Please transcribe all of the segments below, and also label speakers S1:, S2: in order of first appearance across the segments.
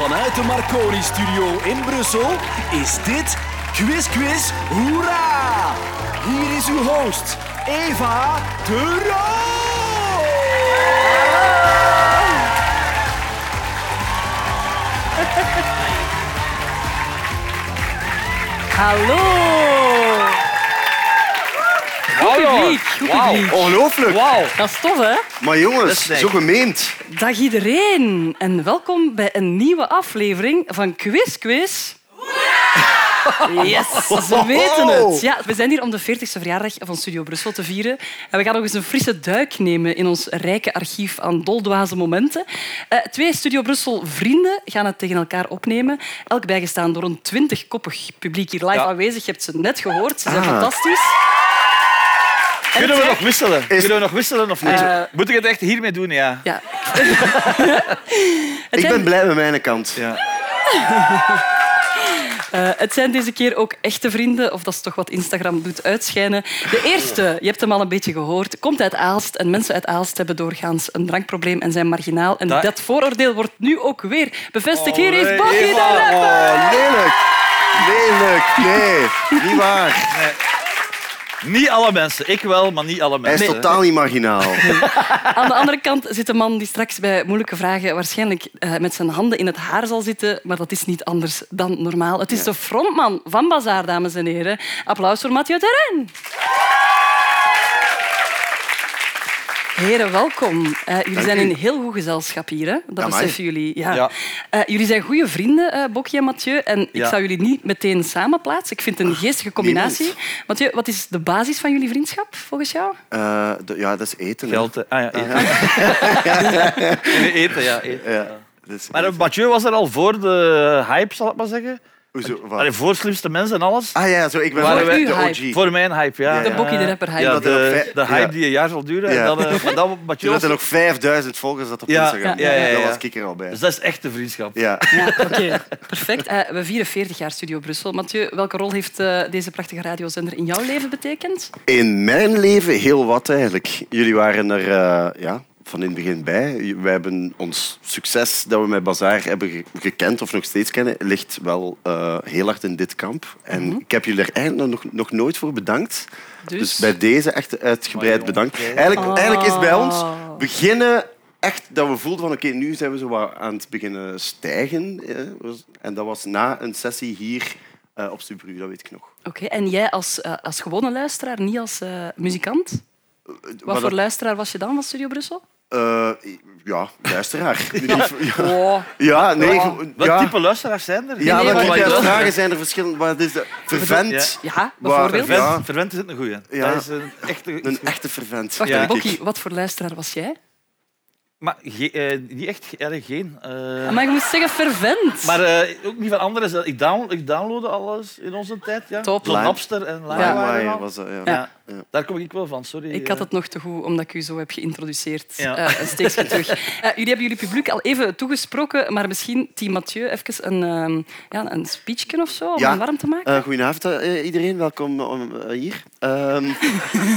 S1: Vanuit de Marconi Studio in Brussel is dit Quiz Quiz Hoera! Hier is uw host, Eva de Roo!
S2: Hallo! Goed publiek, goed publiek.
S3: Ongelooflijk.
S2: Dat is tof, hè?
S3: Maar jongens, zo gemeend.
S2: Dag iedereen en welkom bij een nieuwe aflevering van Quiz Quiz. Yes, ze weten het. Ja, we zijn hier om de 40ste verjaardag van Studio Brussel te vieren. En we gaan nog eens een frisse duik nemen in ons rijke archief aan doldwaze momenten. Eh, twee Studio Brussel vrienden gaan het tegen elkaar opnemen. Elk bijgestaan door een twintigkoppig publiek hier live aanwezig. Je hebt ze net gehoord. Ze zijn fantastisch. En
S4: Ah. Kunnen we
S2: twee-
S4: nog wisselen? Kunnen we nog wisselen of niet?
S2: Eh,
S4: Moet ik het echt hiermee doen, ja?
S2: Ja. het,
S3: Ik
S2: zijn,
S3: ben blij met mijn kant.
S4: Ja.
S2: eh, het zijn deze keer ook echte vrienden, of dat is toch wat Instagram doet uitschijnen. De eerste, je hebt hem al een beetje gehoord, komt uit Aalst. En mensen uit Aalst hebben doorgaans een drankprobleem en zijn marginaal. En
S4: Da-
S2: dat vooroordeel wordt nu ook weer bevestigd. Hier is Bobby
S4: Eva.
S2: de Rapper.
S3: Oh, lelijk. Lelijk. Nee, niet waar.
S4: Niet alle mensen. Ik wel, maar niet alle
S3: Hij is
S4: mensen.
S3: totaal niet marginaal.
S2: Aan de andere kant zit een man die straks bij moeilijke vragen waarschijnlijk eh, met zijn handen in het haar zal zitten. Maar dat is niet anders dan normaal. Het is de frontman van Bazaar, dames en heren. Applaus voor Mathieu Terrein. Heren, welkom. Eh, jullie
S3: Dank
S2: zijn
S3: u.
S2: in heel goed gezelschap hier. Hè? Dat
S3: Amai.
S2: beseffen jullie. Ja.
S4: Ja.
S2: Eh, jullie zijn goede vrienden, eh Bokje en Mathieu. En ik
S4: Ja.
S2: zou jullie niet meteen samen plaatsen. Ik vind het een geestige combinatie. Mathieu, wat is de basis van jullie vriendschap, volgens jou?
S3: Eh, de- ja, dat is eten. hè.
S4: Geld, eh, Ah ja, eten. Nee, eten, ja. Eten.
S3: Ja, dat is
S4: Maar eh,
S3: eten.
S4: Mathieu was er al voor de hype, zal ik maar zeggen.
S3: Hoezo, wat?
S4: Allee, voor slimste mensen en alles.
S3: Ah ja, zo, ik ben
S4: Waren
S3: voor
S4: wij-
S3: de
S2: Uw
S3: OG.
S4: Voor mijn hype, ja.
S3: De
S2: Bokkie de Rapper hype.
S4: Ja, de, de hype
S3: Ja.
S4: die een jaar zal duren.
S3: Ja.
S4: En dan, eh, maar dan Mathieu
S3: Toen had
S4: was
S3: er nog 5000 volgers dat op
S4: Ja,
S3: Instagram.
S4: ja, ja, ja, ja.
S3: Daar was ik er al bij.
S4: Dus dat is echte vriendschap.
S3: Ja.
S2: Ja, oké. Perfect. Eh, we vieren 40 jaar Studio Brussel. Mathieu, welke rol heeft eh, deze prachtige radiozender in jouw leven betekend?
S3: In mijn leven heel wat eigenlijk. Jullie waren er eh, ja, van in het begin bij. Wij hebben ons succes dat we met Bazaar hebben ge- gekend of nog steeds kennen, ligt wel eh, heel hard in dit kamp. En ik heb jullie er eigenlijk nog, nog nooit voor bedankt.
S2: Mhm. Dus? Oh,
S3: Dus, bij deze echt uitgebreid bedankt. Eigenlijk, eigenlijk is het bij ons beginnen echt dat we voelden van oké, nu zijn we zo wat aan het beginnen stijgen. eh. En dat was na een sessie hier eh, op Subru, dat weet ik nog.
S2: Oké, en jij als, eh, als gewone luisteraar, niet als eh, muzikant? Wat
S3: Maar
S2: voor
S3: dat-
S2: luisteraar was je dan van Studio Brussel?
S3: Eh, ja, luisteraar. ja.
S2: Oh.
S3: ja, nee. Ja.
S4: Wat
S3: ja.
S4: type luisteraars zijn er?
S3: Ja,
S2: Nee,
S3: wat
S2: nee,
S3: type
S2: maar-
S3: luisteraars zijn er verschillend. Wat is dat? Vervent.
S2: Ja,
S3: Waar-
S2: bijvoorbeeld.
S4: Verwend,
S3: Ja.
S4: verwend is het een goeie.
S3: Ja.
S4: Dat is een echte...
S3: Een echte vervent.
S2: Wacht,
S4: Ja.
S2: even,
S3: denk ik.
S2: Bokkie, wat voor luisteraar was jij?
S4: Maar ge- eh, niet echt, ge- eigenlijk geen. eh.
S2: Maar je moest zeggen fervent.
S4: Maar eh, ook niet van anderen. Ik, download, ik downloadde alles in onze tijd. Ja.
S2: Top.
S4: Zo'n
S3: Lime.
S4: Napster en
S3: Ja,
S4: LimeWire. en
S3: maar
S4: al.
S3: was dat, ja.
S4: Ja.
S3: Ja.
S4: Daar kom ik wel van, sorry.
S3: eh,
S4: eh.
S2: Ik had het nog te goed, omdat ik u zo heb geïntroduceerd.
S4: Ja.
S2: Eh, een steekje terug. Eh, jullie hebben jullie publiek al even toegesproken, maar misschien, team Mathieu, even een, ehm ja, een speechje of zo, om
S3: Ja.
S2: het warm te maken?
S3: Eh, goedenavond eh, iedereen, welkom om, eh, hier. Ehm,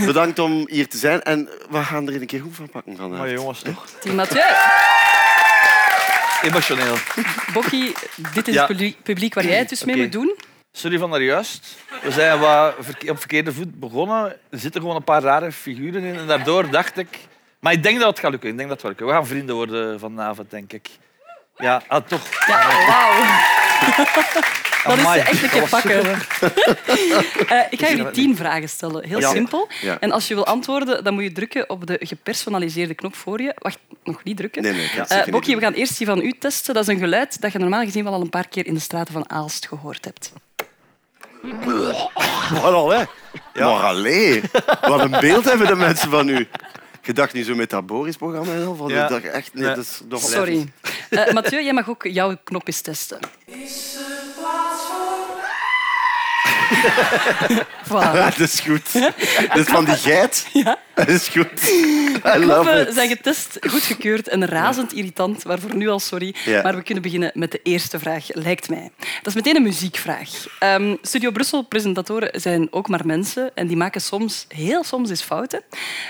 S3: bedankt om hier te zijn en we gaan er een keer goed van pakken vandaag.
S4: Maar jongens, toch.
S2: Team Mathieu.
S4: Emotioneel.
S2: Bokkie, dit is
S4: Ja.
S2: het publiek- publiek waar jij het dus mee
S4: Oké.
S2: moet doen.
S4: Sorry van daar juist. We zijn wat verke- op verkeerde voet begonnen. Er zitten gewoon een paar rare figuren in. En daardoor dacht ik... Maar ik denk dat het gaat lukken. Ik denk dat het gaat lukken. We gaan vrienden worden vanavond, denk ik. Ja, ah, toch.
S2: Ja, wauw. Dat is
S4: Amai,
S2: echt een keer
S4: dat was
S2: pakken. Eh, ik ga jullie
S4: dat
S2: tien vragen stellen, heel
S4: Ja.
S2: simpel.
S3: Ja.
S2: En als je wil antwoorden, dan moet je drukken op de gepersonaliseerde knop voor je. Wacht, nog niet drukken.
S3: Nee, nee, ik ga het
S2: Eh,
S3: zeker niet
S2: Bokkie, we
S3: doen.
S2: gaan eerst die van u testen. Dat is een geluid dat je normaal gezien wel al een paar keer in de straten van Aalst gehoord hebt.
S4: Gewoon al, hè.
S3: Maar allee, wat een beeld hebben de mensen van u. Je dacht niet zo met dat Boris-programma en al, van
S4: Ja.
S3: ik dacht echt, nee,
S4: Nee.
S3: dat is nog
S2: Sorry. Eh, Mathieu, jij mag ook jouw knop eens testen. Voilà.
S3: Dat is goed. Dat is van die geit.
S2: Ja.
S3: Dat is goed. I love
S2: Knoppen
S3: it.
S2: zijn getest, goedgekeurd en razend irritant, waarvoor nu al sorry.
S3: Ja.
S2: Maar we kunnen beginnen met de eerste vraag, lijkt mij. Dat is meteen een muziekvraag. Ehm, Studio Brussel-presentatoren zijn ook maar mensen en die maken soms, heel soms, eens fouten.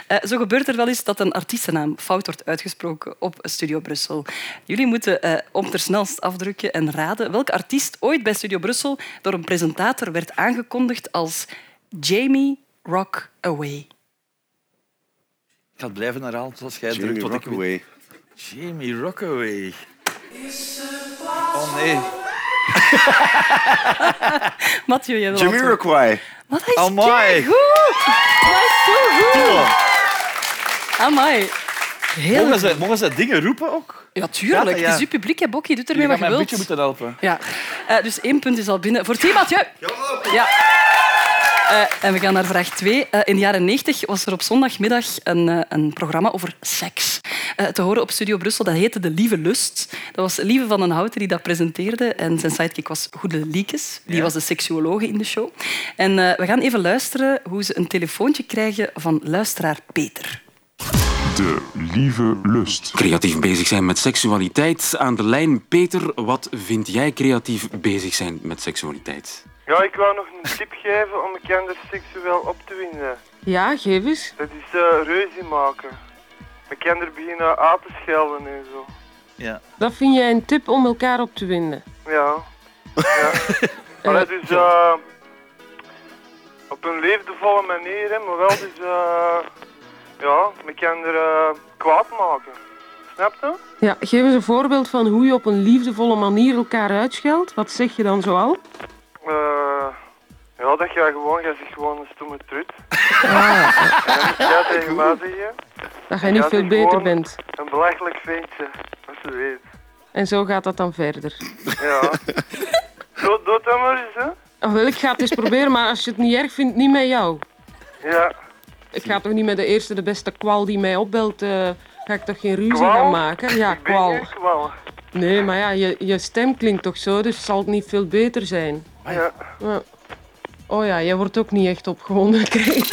S2: Eh, zo gebeurt er wel eens dat een artiestennaam fout wordt uitgesproken op Studio Brussel. Jullie moeten eh, om ter snelst afdrukken en raden welke artiest ooit bij Studio Brussel door een presentator werd aangekondigd als Jamie Rock Away.
S4: Ik ga het blijven herhalen zoals jij drukt
S3: Jamie
S4: tot ik win.
S3: Rockaway.
S4: Jamie Rockaway. Oh nee.
S2: Mathieu, jij wil
S3: Jamie
S2: antwoorden.
S3: Rockaway.
S2: Wat hij is
S4: Amai.
S2: keigoed. Dat is zo goed. Amai. Heel
S4: Mogen
S2: goed.
S4: ze, mogen ze dingen roepen ook?
S2: Ja, tuurlijk.
S4: Ja, ja.
S2: Het is uw publiek, hè, Bokkie. Doet
S4: Je
S2: ermee
S4: gaat
S2: wat
S4: mij
S2: je
S4: een beetje
S2: wilt.
S4: moeten helpen.
S2: Ja. Eh, dus één punt is al binnen. Voor Team Mathieu. Ja. Eh, en we gaan naar vraag 2. in de jaren 90 was er op zondagmiddag een, eh, een programma over seks. Eh, te horen op Studio Brussel, dat heette De Lieve Lust. Dat was Lieve van den Houten die dat presenteerde. En zijn sidekick was Goede Liekes. Die was de seksuologe in de show. En eh, we gaan even luisteren hoe ze een telefoontje krijgen van luisteraar Peter.
S5: De lieve lust.
S6: Creatief bezig zijn met seksualiteit. Aan de lijn, Peter, wat vind jij creatief bezig zijn met seksualiteit?
S7: Ja, ik wou nog een tip geven om elkaar seksueel op te winden.
S8: Ja, geef eens.
S7: Dat is eh reuzie maken. Elkaar beginnen aan te schelden en zo.
S4: Ja.
S8: Dat vind jij een tip om elkaar op te winden.
S7: Ja. ja. Allee, dus eh, op een liefdevolle manier, hè, maar wel dus eh ja, elkaar eh kwaad maken. Snap je?
S8: Ja, geef eens een voorbeeld van hoe je op een liefdevolle manier elkaar uitscheldt. Wat zeg je dan zoal?
S7: Eh, ja, dat jij gewoon, jij zegt gewoon een stomme trut. Ja, ja tegen mij zeggen,
S8: Dat jij niet
S7: Ja,
S8: veel
S7: dus
S8: beter
S7: gewoon-
S8: bent.
S7: een belachelijk ventje, als je weet.
S8: En zo gaat dat dan verder.
S7: Ja. Doe, doe dat maar eens, hè?
S8: Ah, wel, ik ga het eens proberen, maar als je het niet erg vindt, niet met jou.
S7: Ja.
S8: Ik ga toch niet met de eerste, de beste kwal die mij opbelt, eh, ga ik toch geen ruzie
S7: Kwal?
S8: gaan maken? Ja,
S7: Ik ben
S8: kwal.
S7: geen kwal.
S8: Nee, maar ja, je, je stem klinkt toch zo, dus zal het niet veel beter zijn.
S7: Ja.
S8: Ja. Oh ja, jij wordt ook niet echt opgewonden. Kijk.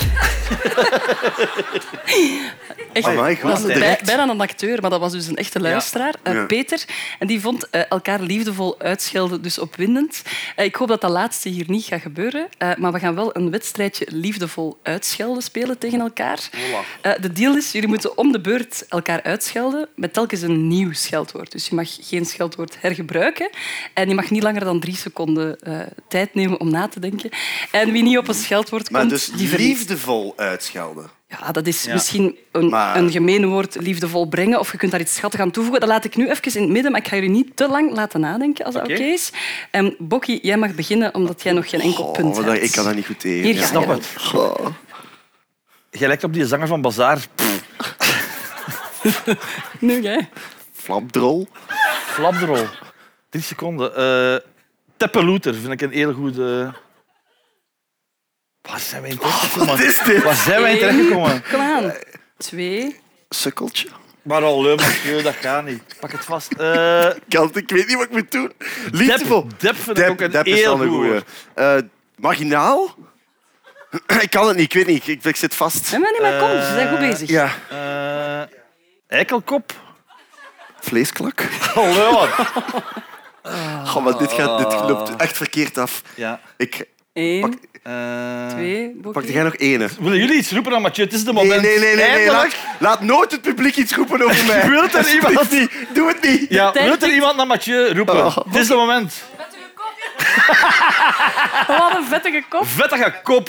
S2: Echt,
S3: Oh my
S2: dat
S3: god.
S2: is bij, bijna een acteur, maar dat was dus een echte luisteraar, eh,
S3: Ja.
S2: Peter. En die vond eh, elkaar liefdevol uitschelden, dus opwindend. Eh, ik hoop dat dat laatste hier niet gaat gebeuren, eh, maar we gaan wel een wedstrijdje liefdevol uitschelden spelen tegen elkaar. Eh, de deal is, jullie moeten om de beurt elkaar uitschelden met telkens een nieuw scheldwoord. Dus je mag geen scheldwoord hergebruiken en je mag niet langer dan drie seconden eh, tijd nemen om na te denken. En wie niet op een scheldwoord
S3: Maar
S2: komt,
S3: dus
S2: die verliest.
S3: liefdevol uitschelden.
S2: Ja, dat is misschien een,
S3: Maar-
S2: een gemeen woord liefdevol brengen. Of je kunt daar iets schattig aan toevoegen. Dat laat ik nu even in het midden, maar ik ga jullie niet te lang laten nadenken als dat oké
S4: Oké.
S2: is. En Bokkie, jij mag beginnen, omdat jij nog geen enkel
S3: Oh,
S2: punt
S3: maar
S2: hebt.
S3: ik kan dat niet goed tegen.
S2: Hier ga
S3: Snap
S2: je.
S4: het. Jij lijkt op die zanger van Bazaar. Pff,
S2: Nu, jij.
S3: Flapdrol.
S4: Flapdrol. Drie seconden. Eh Teppeloeter vind ik een heel goede... Waar zijn wij in terechtgekomen?
S3: Oh, Wat is dit?
S4: Waar zijn wij in terechtgekomen?
S2: Kom aan. Twee.
S3: Sukkeltje.
S4: Maar al leuk, dat gaat niet. Pak het vast. Eh
S3: Ik kan het- Ik weet niet wat ik moet doen. Liefdevol.
S4: Dep, dep vind ik
S3: Dep-
S4: ook een
S3: Dep is
S4: heel
S3: wel een
S4: goeie.
S3: goeie. Eh, marginaal? ik kan het niet, ik weet niet. Ik, ik zit vast.
S2: Nee, maar, nee, maar kom, ze zijn goed bezig.
S3: Ja,
S4: Eh, eikelkop.
S3: vleesklak.
S4: Hallo.
S3: Oh, maar dit, gaat, dit loopt echt verkeerd af.
S4: Ja.
S3: Ik,
S2: Eén,
S3: Pak-
S4: Eh,
S2: twee,
S3: pak
S2: Bokkie.
S3: jij nog ene?
S4: Willen jullie iets roepen aan Mathieu? Het is de
S3: Nee, nee,
S4: moment.
S3: nee. nee, nee,
S4: Eindelijk.
S3: Laat, laat nooit het publiek iets roepen over mij.
S4: Wilt er iemand-
S3: Alsjeblieft niet. Doe het niet.
S4: Ja,
S2: tijd
S4: wil er iemand naar Mathieu roepen?
S3: Oh.
S4: Het is de moment.
S2: Oh, Wat een vettige kop.
S4: Vettige kop.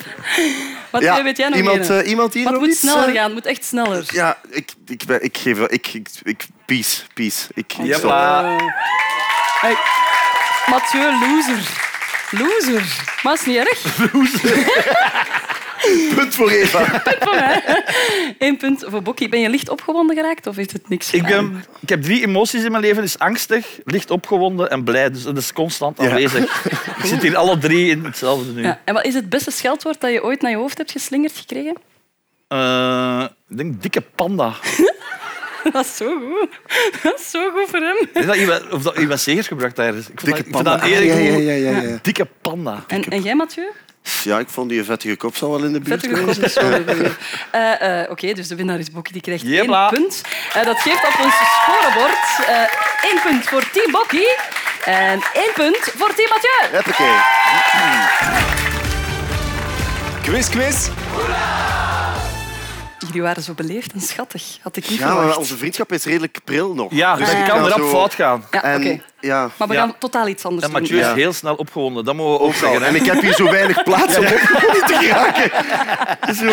S2: Wat
S3: Ja,
S2: weet jij nog
S3: iemand,
S2: Irene?
S3: eh, iemand hier
S2: Maar het
S3: nog
S2: moet
S3: iets?
S2: sneller
S3: Eh,
S2: gaan, het moet echt sneller.
S3: Ja, ik, ik, ben- ik geef wel... Ik, ik, ik, peace, peace. Ik, ik stop.
S4: Jeppa.
S2: Hey. Mathieu, loser. Loser. Maar is niet erg.
S3: Punt voor Eva.
S2: Eén punt voor Bokkie. Ben je licht opgewonden geraakt of heeft het niks
S4: Ik,
S2: gedaan?
S4: ben, ik heb drie emoties in mijn leven. Dus angstig, licht opgewonden en blij. Dus dat is constant
S3: Ja.
S4: aanwezig. Ik zit hier alle drie in hetzelfde nu.
S2: Ja. En wat is het beste scheldwoord dat je ooit naar je hoofd hebt geslingerd gekregen?
S4: Eh, ik denk dikke panda.
S2: Dat is zo goed. Dat is zo goed voor hem.
S4: Is dat iemand- of dat iemand zegers gebruikt daar is? Ik vond dat-
S3: Dikke
S4: ik vond
S3: panda.
S4: dat een
S3: Ah, ja,
S4: eerlijk
S3: ja,
S4: goed.
S3: ja, ja, ja.
S4: Dikke panda.
S2: En, en jij, Mathieu?
S3: Ja, ik vond die vettige kop zal wel in de buurt
S2: Vettige
S3: geweest
S2: kop.
S3: zijn.
S2: Eh, eh, Oké, dus de winnaar is Bokkie, die krijgt
S4: Jebla.
S2: één punt. Eh, dat geeft op ons scorebord eh één punt voor Team Bokkie en één punt voor Team Mathieu.
S3: Hoppakee.
S1: Quiz, quiz.
S2: Jullie waren zo beleefd en schattig, had ik niet
S3: Ja,
S2: verwacht.
S3: maar onze vriendschap is redelijk pril nog.
S4: Ja, dus
S3: ik
S4: je kan
S3: ga
S4: erop
S3: zo-
S4: fout gaan.
S2: Ja,
S3: En
S2: oké.
S3: ja,
S2: Maar we
S4: Ja.
S2: gaan totaal iets anders
S4: En
S2: doen.
S4: Mathieu is
S3: Ja.
S4: heel snel opgewonden. Dat mogen we ook
S3: ook al.
S4: zeggen. hè.
S3: En ik heb hier zo weinig plaats om opgewonden te geraken. Zo,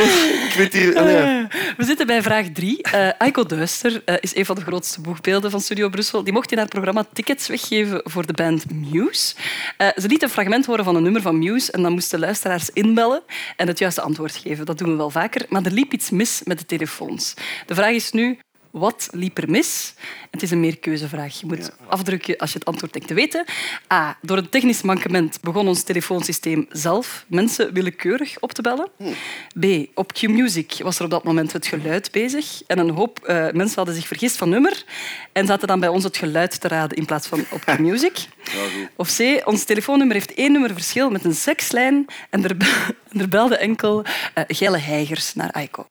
S3: ik weet hier...
S2: Oh,
S3: allee.
S2: We zitten bij vraag drie. Eh Aiko Duister eh, is een van de grootste boegbeelden van Studio Brussel. Die mocht in haar programma tickets weggeven voor de band Muse. Eh, ze liet een fragment horen van een nummer van Muse en dan moesten luisteraars inbellen en het juiste antwoord geven. Dat doen we wel vaker. Maar er liep iets mis met de telefoons. De vraag is nu... Wat liep er mis? Het is een meerkeuzevraag. Je moet afdrukken als je het antwoord denkt te weten. A. Door een technisch mankement begon ons telefoonsysteem zelf mensen willekeurig op te bellen. B. Op Q-Music was er op dat moment het geluid bezig. En een hoop eh, mensen hadden zich vergist van nummer en zaten dan bij ons het geluid te raden in plaats van op Q-Music. of C. Ons telefoonnummer heeft één nummer verschil met een sekslijn en er, be- en er belden enkel eh gele heigers naar Aiko.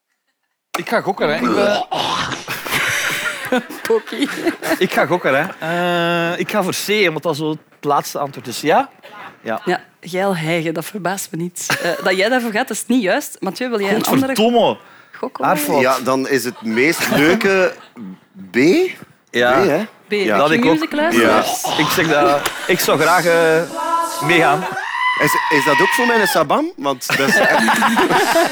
S4: Ik ga gokken, hè. Ik, eh, ben-
S2: Poppy.
S4: ik ga gokken, hè. Eh, ik ga voor C, want dat zo het laatste antwoord is. Ja?
S2: Ja, geil hijgen, dat verbaast me niet. Eh, dat jij daarvoor gaat, is niet juist. Mathieu, wil jij een andere
S4: Godverdomme.
S2: gok?
S4: Haar
S2: horen?
S4: fout.
S3: Ja, dan is het meest leuke B.
S4: Ja.
S3: B, hè?
S2: B, ja,
S4: dat ik ook.
S2: music luisteraars?
S4: Ik zeg dat... Ik zou graag eh, meegaan.
S3: Is, is dat ook voor mij een sabam? Want dat is echt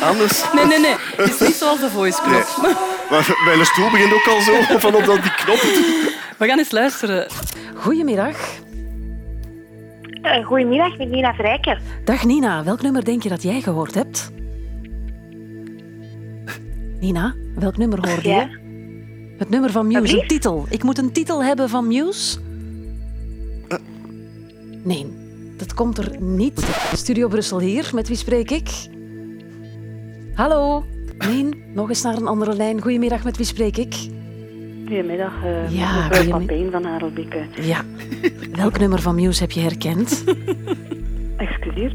S3: anders.
S2: Nee, nee, nee. Het is niet zoals de voice knop.
S3: Maar mijn stoel begint ook al zo van op dat die knop. Dus
S2: We gaan eens luisteren.
S9: Goedemiddag.
S10: Eh, Goedemiddag, met Nina Vrijker.
S9: Dag Nina, welk nummer denk je dat jij gehoord hebt? Nina, welk nummer hoorde
S10: Ja.
S9: je? Het nummer van Muse, een
S10: Alsjeblieft.
S9: titel. Ik moet een titel hebben van Muse. Nee, dat komt er niet. Studio Brussel hier, met wie spreek ik? Hallo? Nee, Oh, nog eens naar een andere lijn. Goedemiddag, met wie spreek ik?
S10: Goedemiddag, uh,
S9: Ja, goedemiddag.
S10: van Harelbeke.
S9: Ja. Welk nummer van Muse heb je herkend?
S10: Excuseer.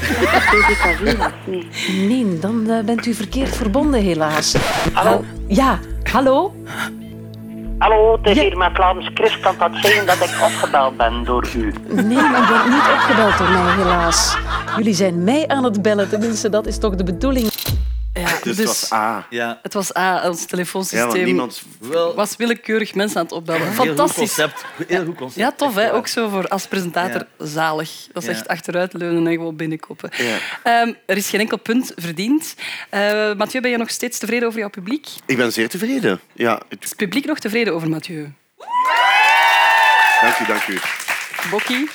S10: Ik heb deze was niet.
S9: Nee, dan eh, bent u verkeerd verbonden, helaas. Hallo? ja, hallo?
S10: Hallo, het is
S9: Ja.
S10: hier met Vlaams Christ. Kan dat zeggen dat ik afgebeld ben door u?
S9: Nee, u bent niet opgebeld door mij, helaas. Jullie zijn mij aan het bellen, tenminste, dat is toch de bedoeling.
S2: Ja,
S3: Dus,
S2: dus
S3: het was A.
S4: Ja.
S2: het was A, ons
S3: Ja, want
S2: telefoonsysteem
S3: niemand...
S4: Wel,
S2: was willekeurig mensen aan het opbellen.
S4: Heel goed
S2: Fantastisch.
S4: concept. Heel goed concept.
S2: Ja, tof, hè?
S4: Echt, eh,
S2: ook zo voor als presentator zalig. Dat is
S4: Ja.
S2: echt achteruitleunen en gewoon binnenkoppen. Ehm, er is geen enkel punt verdiend. Eh, Mathieu, ben je nog steeds tevreden over jouw publiek? Is
S3: Ik ben zeer tevreden. Ja, het-
S2: het publiek nog tevreden over Mathieu?
S3: dank u, dank u.
S2: Bokkie?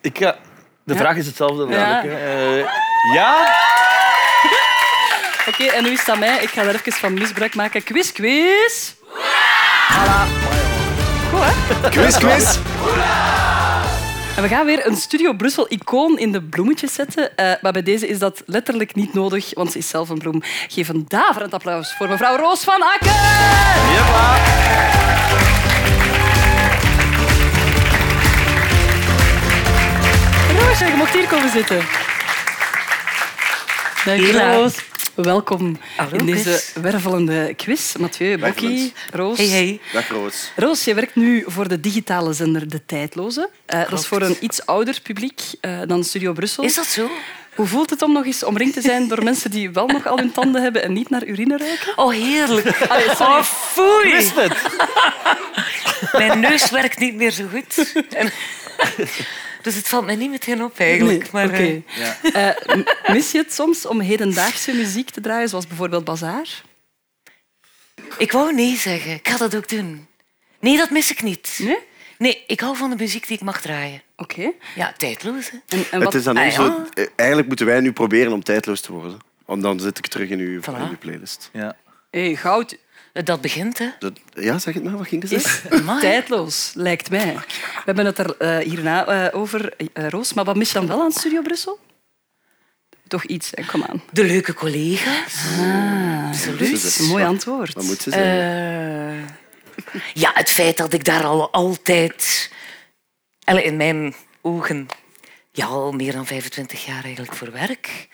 S4: Ik ga... De
S2: Ja.
S4: vraag is hetzelfde. Ja.
S2: Ja.
S4: ja?
S2: Oké, en nu is het aan mij. Ik ga daar even van misbruik maken. Quiz, quiz. Voilà. Goed, hè?
S1: Quiz, quiz.
S2: En we gaan weer een Studio Brussel-icoon in de bloemetjes zetten. Eh, maar bij deze is dat letterlijk niet nodig, want ze is zelf een bloem. Geef een daverend applaus voor mevrouw Roos van Aken. Roosje, je mocht hier komen zitten. Dag
S11: Hela.
S2: Roos. Welkom
S11: Hallo,
S2: in deze
S11: Chris.
S2: wervelende quiz. Mathieu,
S3: Dag,
S2: Bokkie,
S3: mens.
S2: Roos.
S11: Hey, hey.
S3: Dag, Roos.
S2: Roos, je werkt nu voor de digitale zender De Tijdloze. Eh, dat is voor een iets ouder publiek eh, dan Studio Brussel.
S11: Is dat zo?
S2: Hoe voelt het om nog eens omringd te zijn door mensen die wel nog al hun tanden hebben en niet naar urine ruiken?
S11: Oh, heerlijk.
S2: Allee, sorry.
S11: Oh, foei.
S4: Wist het?
S11: Mijn neus werkt niet meer zo goed. En- Dus het valt mij niet meteen op, eigenlijk.
S2: Nee,
S11: maar,
S2: oké.
S11: eh,
S2: Eh, m- mis je het soms om hedendaagse muziek te draaien, zoals bijvoorbeeld Bazaar?
S11: ik wou nee zeggen. Ik ga dat ook doen. Nee, dat mis ik niet.
S2: Nee?
S11: Nee, ik hou van de muziek die ik mag draaien.
S2: Oké.
S11: Ja, tijdloos. hè.
S2: En, en
S3: Het
S2: wat...
S3: is aan
S11: Ah,
S3: ons...
S11: ja.
S3: eh, Eigenlijk moeten wij nu proberen om tijdloos te worden. Want dan zit ik terug in uw, in uw playlist.
S4: Ja.
S2: hey, goud
S11: Ah, Dat begint, hè.
S3: Dat, ja, zeg het nou. Wat ging er zeggen?
S2: is
S11: Amai.
S2: tijdloos, lijkt mij. We hebben het er eh, hierna eh, over, eh, Roos. Maar wat mis je dan wel aan Studio Brussel? Toch iets, hè, kom aan.
S11: De leuke collega's.
S3: Ze
S11: Absoluut.
S3: zegt,
S2: Een mooi
S3: wat-
S2: antwoord.
S3: Wat moet ze
S11: Eh,
S3: zeggen?
S11: ja, het feit dat ik daar al altijd... Allee, in mijn ogen ja, al meer dan 25 jaar eigenlijk voor werk.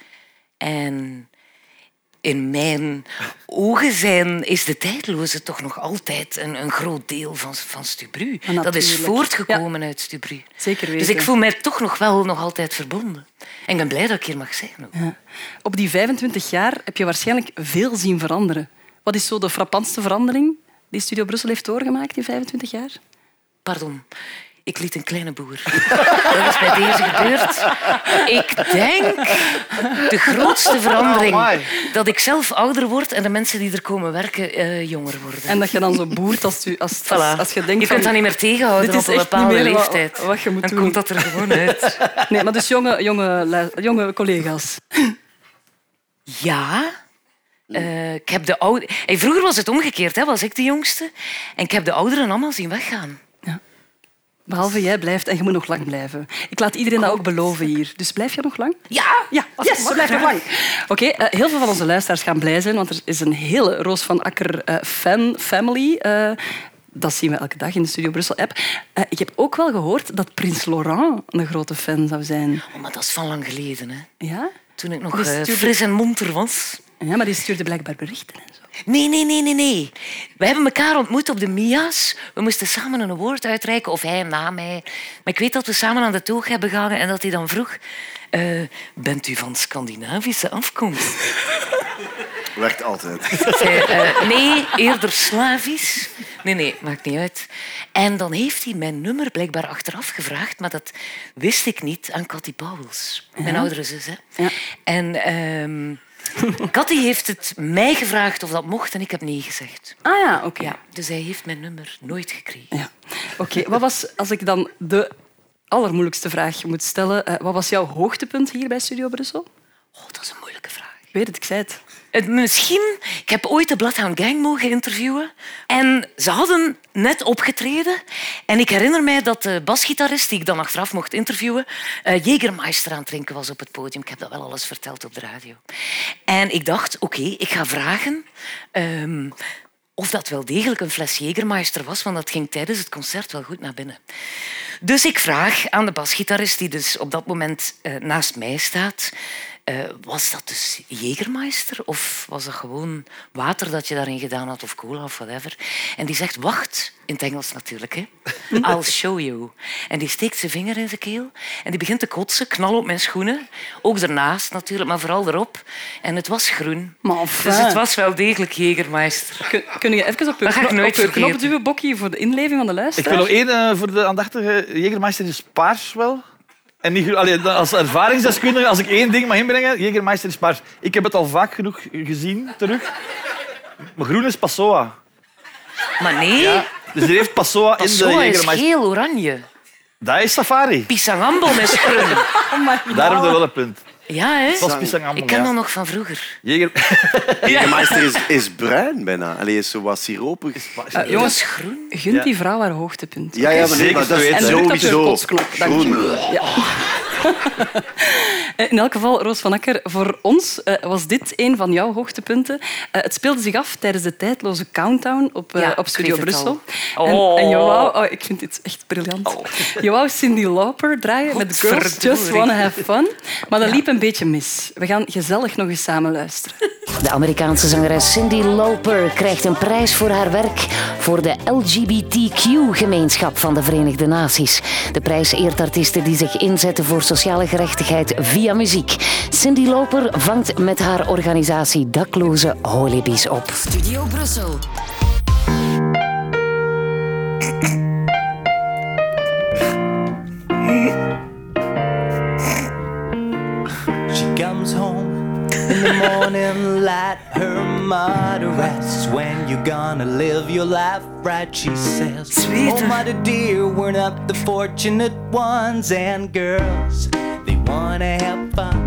S11: En in mijn ogen zijn, is de tijdloze toch nog altijd een, een groot deel van, van Stubru.
S2: Maar
S11: Dat is
S2: Ah, natuurlijk.
S11: voortgekomen uit Stubru.
S2: Zeker weten.
S11: Dus ik voel mij toch nog wel nog altijd verbonden. En ik ben blij dat ik hier mag zijn. ook.
S2: Ja. Op die 25 jaar heb je waarschijnlijk veel zien veranderen. Wat is zo de frappantste verandering die Studio Brussel heeft doorgemaakt in 25 jaar?
S11: Pardon, ik liet een kleine boer. Dat is bij deze gebeurd. Ik denk de grootste verandering dat ik zelf ouder word en de mensen die er komen werken eh, jonger worden.
S2: En dat je dan zo boert als, u, als, als, als je denkt...
S11: Je
S2: van,
S11: kunt dat niet meer tegenhouden
S2: dit is
S11: op een
S2: echt niet
S11: bepaalde
S2: meer wat-
S11: leeftijd.
S2: Wat, je moet
S11: Dan
S2: doen.
S11: komt dat er gewoon uit.
S2: Nee, maar dus jonge, jonge, lu- jonge collega's.
S11: Ja. Eh, ik heb de oude... hey, vroeger was het omgekeerd, hè, was ik de jongste. En ik heb de ouderen allemaal zien weggaan.
S2: Behalve jij blijft en je moet nog lang blijven. Ik laat iedereen dat ook beloven hier. Dus blijf je nog lang?
S11: Ja!
S2: Ja, yes, blijf nog lang. Oké, eh, heel veel van onze luisteraars gaan blij zijn, want er is een hele Roos van Akker eh, fan family. Eh, dat zien we elke dag in de Studio Brussel app. Eh, ik heb ook wel gehoord dat Prins Laurent een grote fan zou zijn.
S11: Oh, maar dat is van lang geleden, hè.
S2: Ja?
S11: Toen ik nog
S2: Die
S11: eh,
S2: stuurde-
S11: fris en monter was.
S2: Ja, maar die stuurde blijkbaar berichten. en zo.
S11: Nee, nee, nee, nee, nee. We hebben elkaar ontmoet op de Mia's. We moesten samen een award uitreiken, of hij na mij. Maar ik weet dat we samen aan de toog hebben gehangen en dat hij dan vroeg... eh, bent u van Scandinavische afkomst?
S3: Werkt altijd.
S11: Zei, eh, nee, eerder Slavisch. Nee, nee, maakt niet uit. En dan heeft hij mijn nummer blijkbaar achteraf gevraagd, maar dat wist ik niet aan Cathy Pauwels, mijn
S2: Ja.
S11: oudere zus. Hè. En ehm Cathy heeft het mij gevraagd of dat mocht en ik heb nee gezegd.
S2: Ah ja, oké.
S11: Ja, dus hij heeft mijn nummer nooit gekregen.
S2: Oké, wat was, als ik dan de allermoeilijkste vraag moet stellen, eh, wat was jouw hoogtepunt hier bij Studio Brussel?
S11: Oh, dat is een moeilijke vraag.
S2: Ik weet het, ik zei het.
S11: Het, misschien, ik heb ooit de Bloodhound Gang mogen interviewen. En ze hadden net opgetreden. En ik herinner mij dat de basgitarist, die ik dan achteraf mocht interviewen, eh Jägermeister aan het drinken was op het podium. Ik heb dat wel alles verteld op de radio. En ik dacht, oké, ik ga vragen ehm, of dat wel degelijk een fles Jägermeister was, want dat ging tijdens het concert wel goed naar binnen. Dus ik vraag aan de basgitarist, die dus op dat moment eh, naast mij staat... eh, was dat dus Jägermeister of was dat gewoon water dat je daarin gedaan had of cola of whatever? En die zegt, wacht, in het Engels natuurlijk, hè. I'll show you. En die steekt zijn vinger in zijn keel en die begint te kotsen, knal op mijn schoenen. Ook daarnaast natuurlijk, maar vooral erop. En het was groen.
S2: Maar enfin.
S11: Dus het was wel degelijk Jägermeister.
S2: Kun- Kunnen je even op je,
S11: Dat ga ik
S2: kno-
S11: nooit
S2: op je knop
S11: vergeten.
S2: duwen, Bokkie, voor de inleving van de
S4: Ik
S2: luisteraar?
S4: wil nog één eh, voor de aandachtige. Jägermeister is paars wel. En niet, gro- allee, dat- als ervaringsdeskundige, als ik één ding mag inbrengen, Jägermeister is paars. Ik heb het al vaak genoeg gezien terug. Maar groen is Passoa.
S11: Maar nee,
S4: Dus die heeft Passoa, in
S11: Passoa
S4: de
S11: is
S4: Jägermeister.
S11: geel-oranje.
S4: Dat is safari.
S11: Pisangambon is groen.
S4: Daarom dat wel een punt.
S11: Ja, hè?
S4: Het was Pisangambon,
S11: Ik ken
S4: ja.
S11: dat nog van vroeger.
S4: Jäger...
S3: Jägermeister is, is bruin bijna. Allee, is zo wat siropig.
S2: Eh, jongens,
S11: groen.
S2: gunt die vrouw haar hoogtepunt.
S3: Ja, ja, maar, nee,
S4: Zeker
S3: maar dat
S4: te
S3: is
S4: weten.
S2: En druk op je
S3: sowieso.
S2: kotsknop. Dank je.
S3: Groen.
S2: Eh, In elk geval, Roos van Akker, voor ons eh, was dit een van jouw hoogtepunten. Eh, het speelde zich af tijdens de tijdloze countdown op, eh,
S11: Ja, ik
S2: op Studio
S11: weet het
S2: Brussel.
S11: al.
S2: En, en je
S11: Oh.
S2: wou, oh, ik vind dit echt briljant. Je wou Cindy Lauper draaien met Girls Just
S11: Godverdorie.
S2: Wanna Have Fun, maar dat liep een beetje mis. We gaan gezellig nog eens samen luisteren.
S12: De Amerikaanse zangeres Cindy Lauper krijgt een prijs voor haar werk voor de LGBTQ-gemeenschap van de Verenigde Naties. De prijs eert artiesten die zich inzetten voor sociale gerechtigheid via muziek. Cindy Lauper vangt met haar organisatie dakloze holibies op.
S13: Studio Brussel.
S14: She comes home in the morning light. Her mother asks, When you gonna live your life right? She says, Oh, mother dear, we're not the fortunate ones. And girls, they wanna have fun.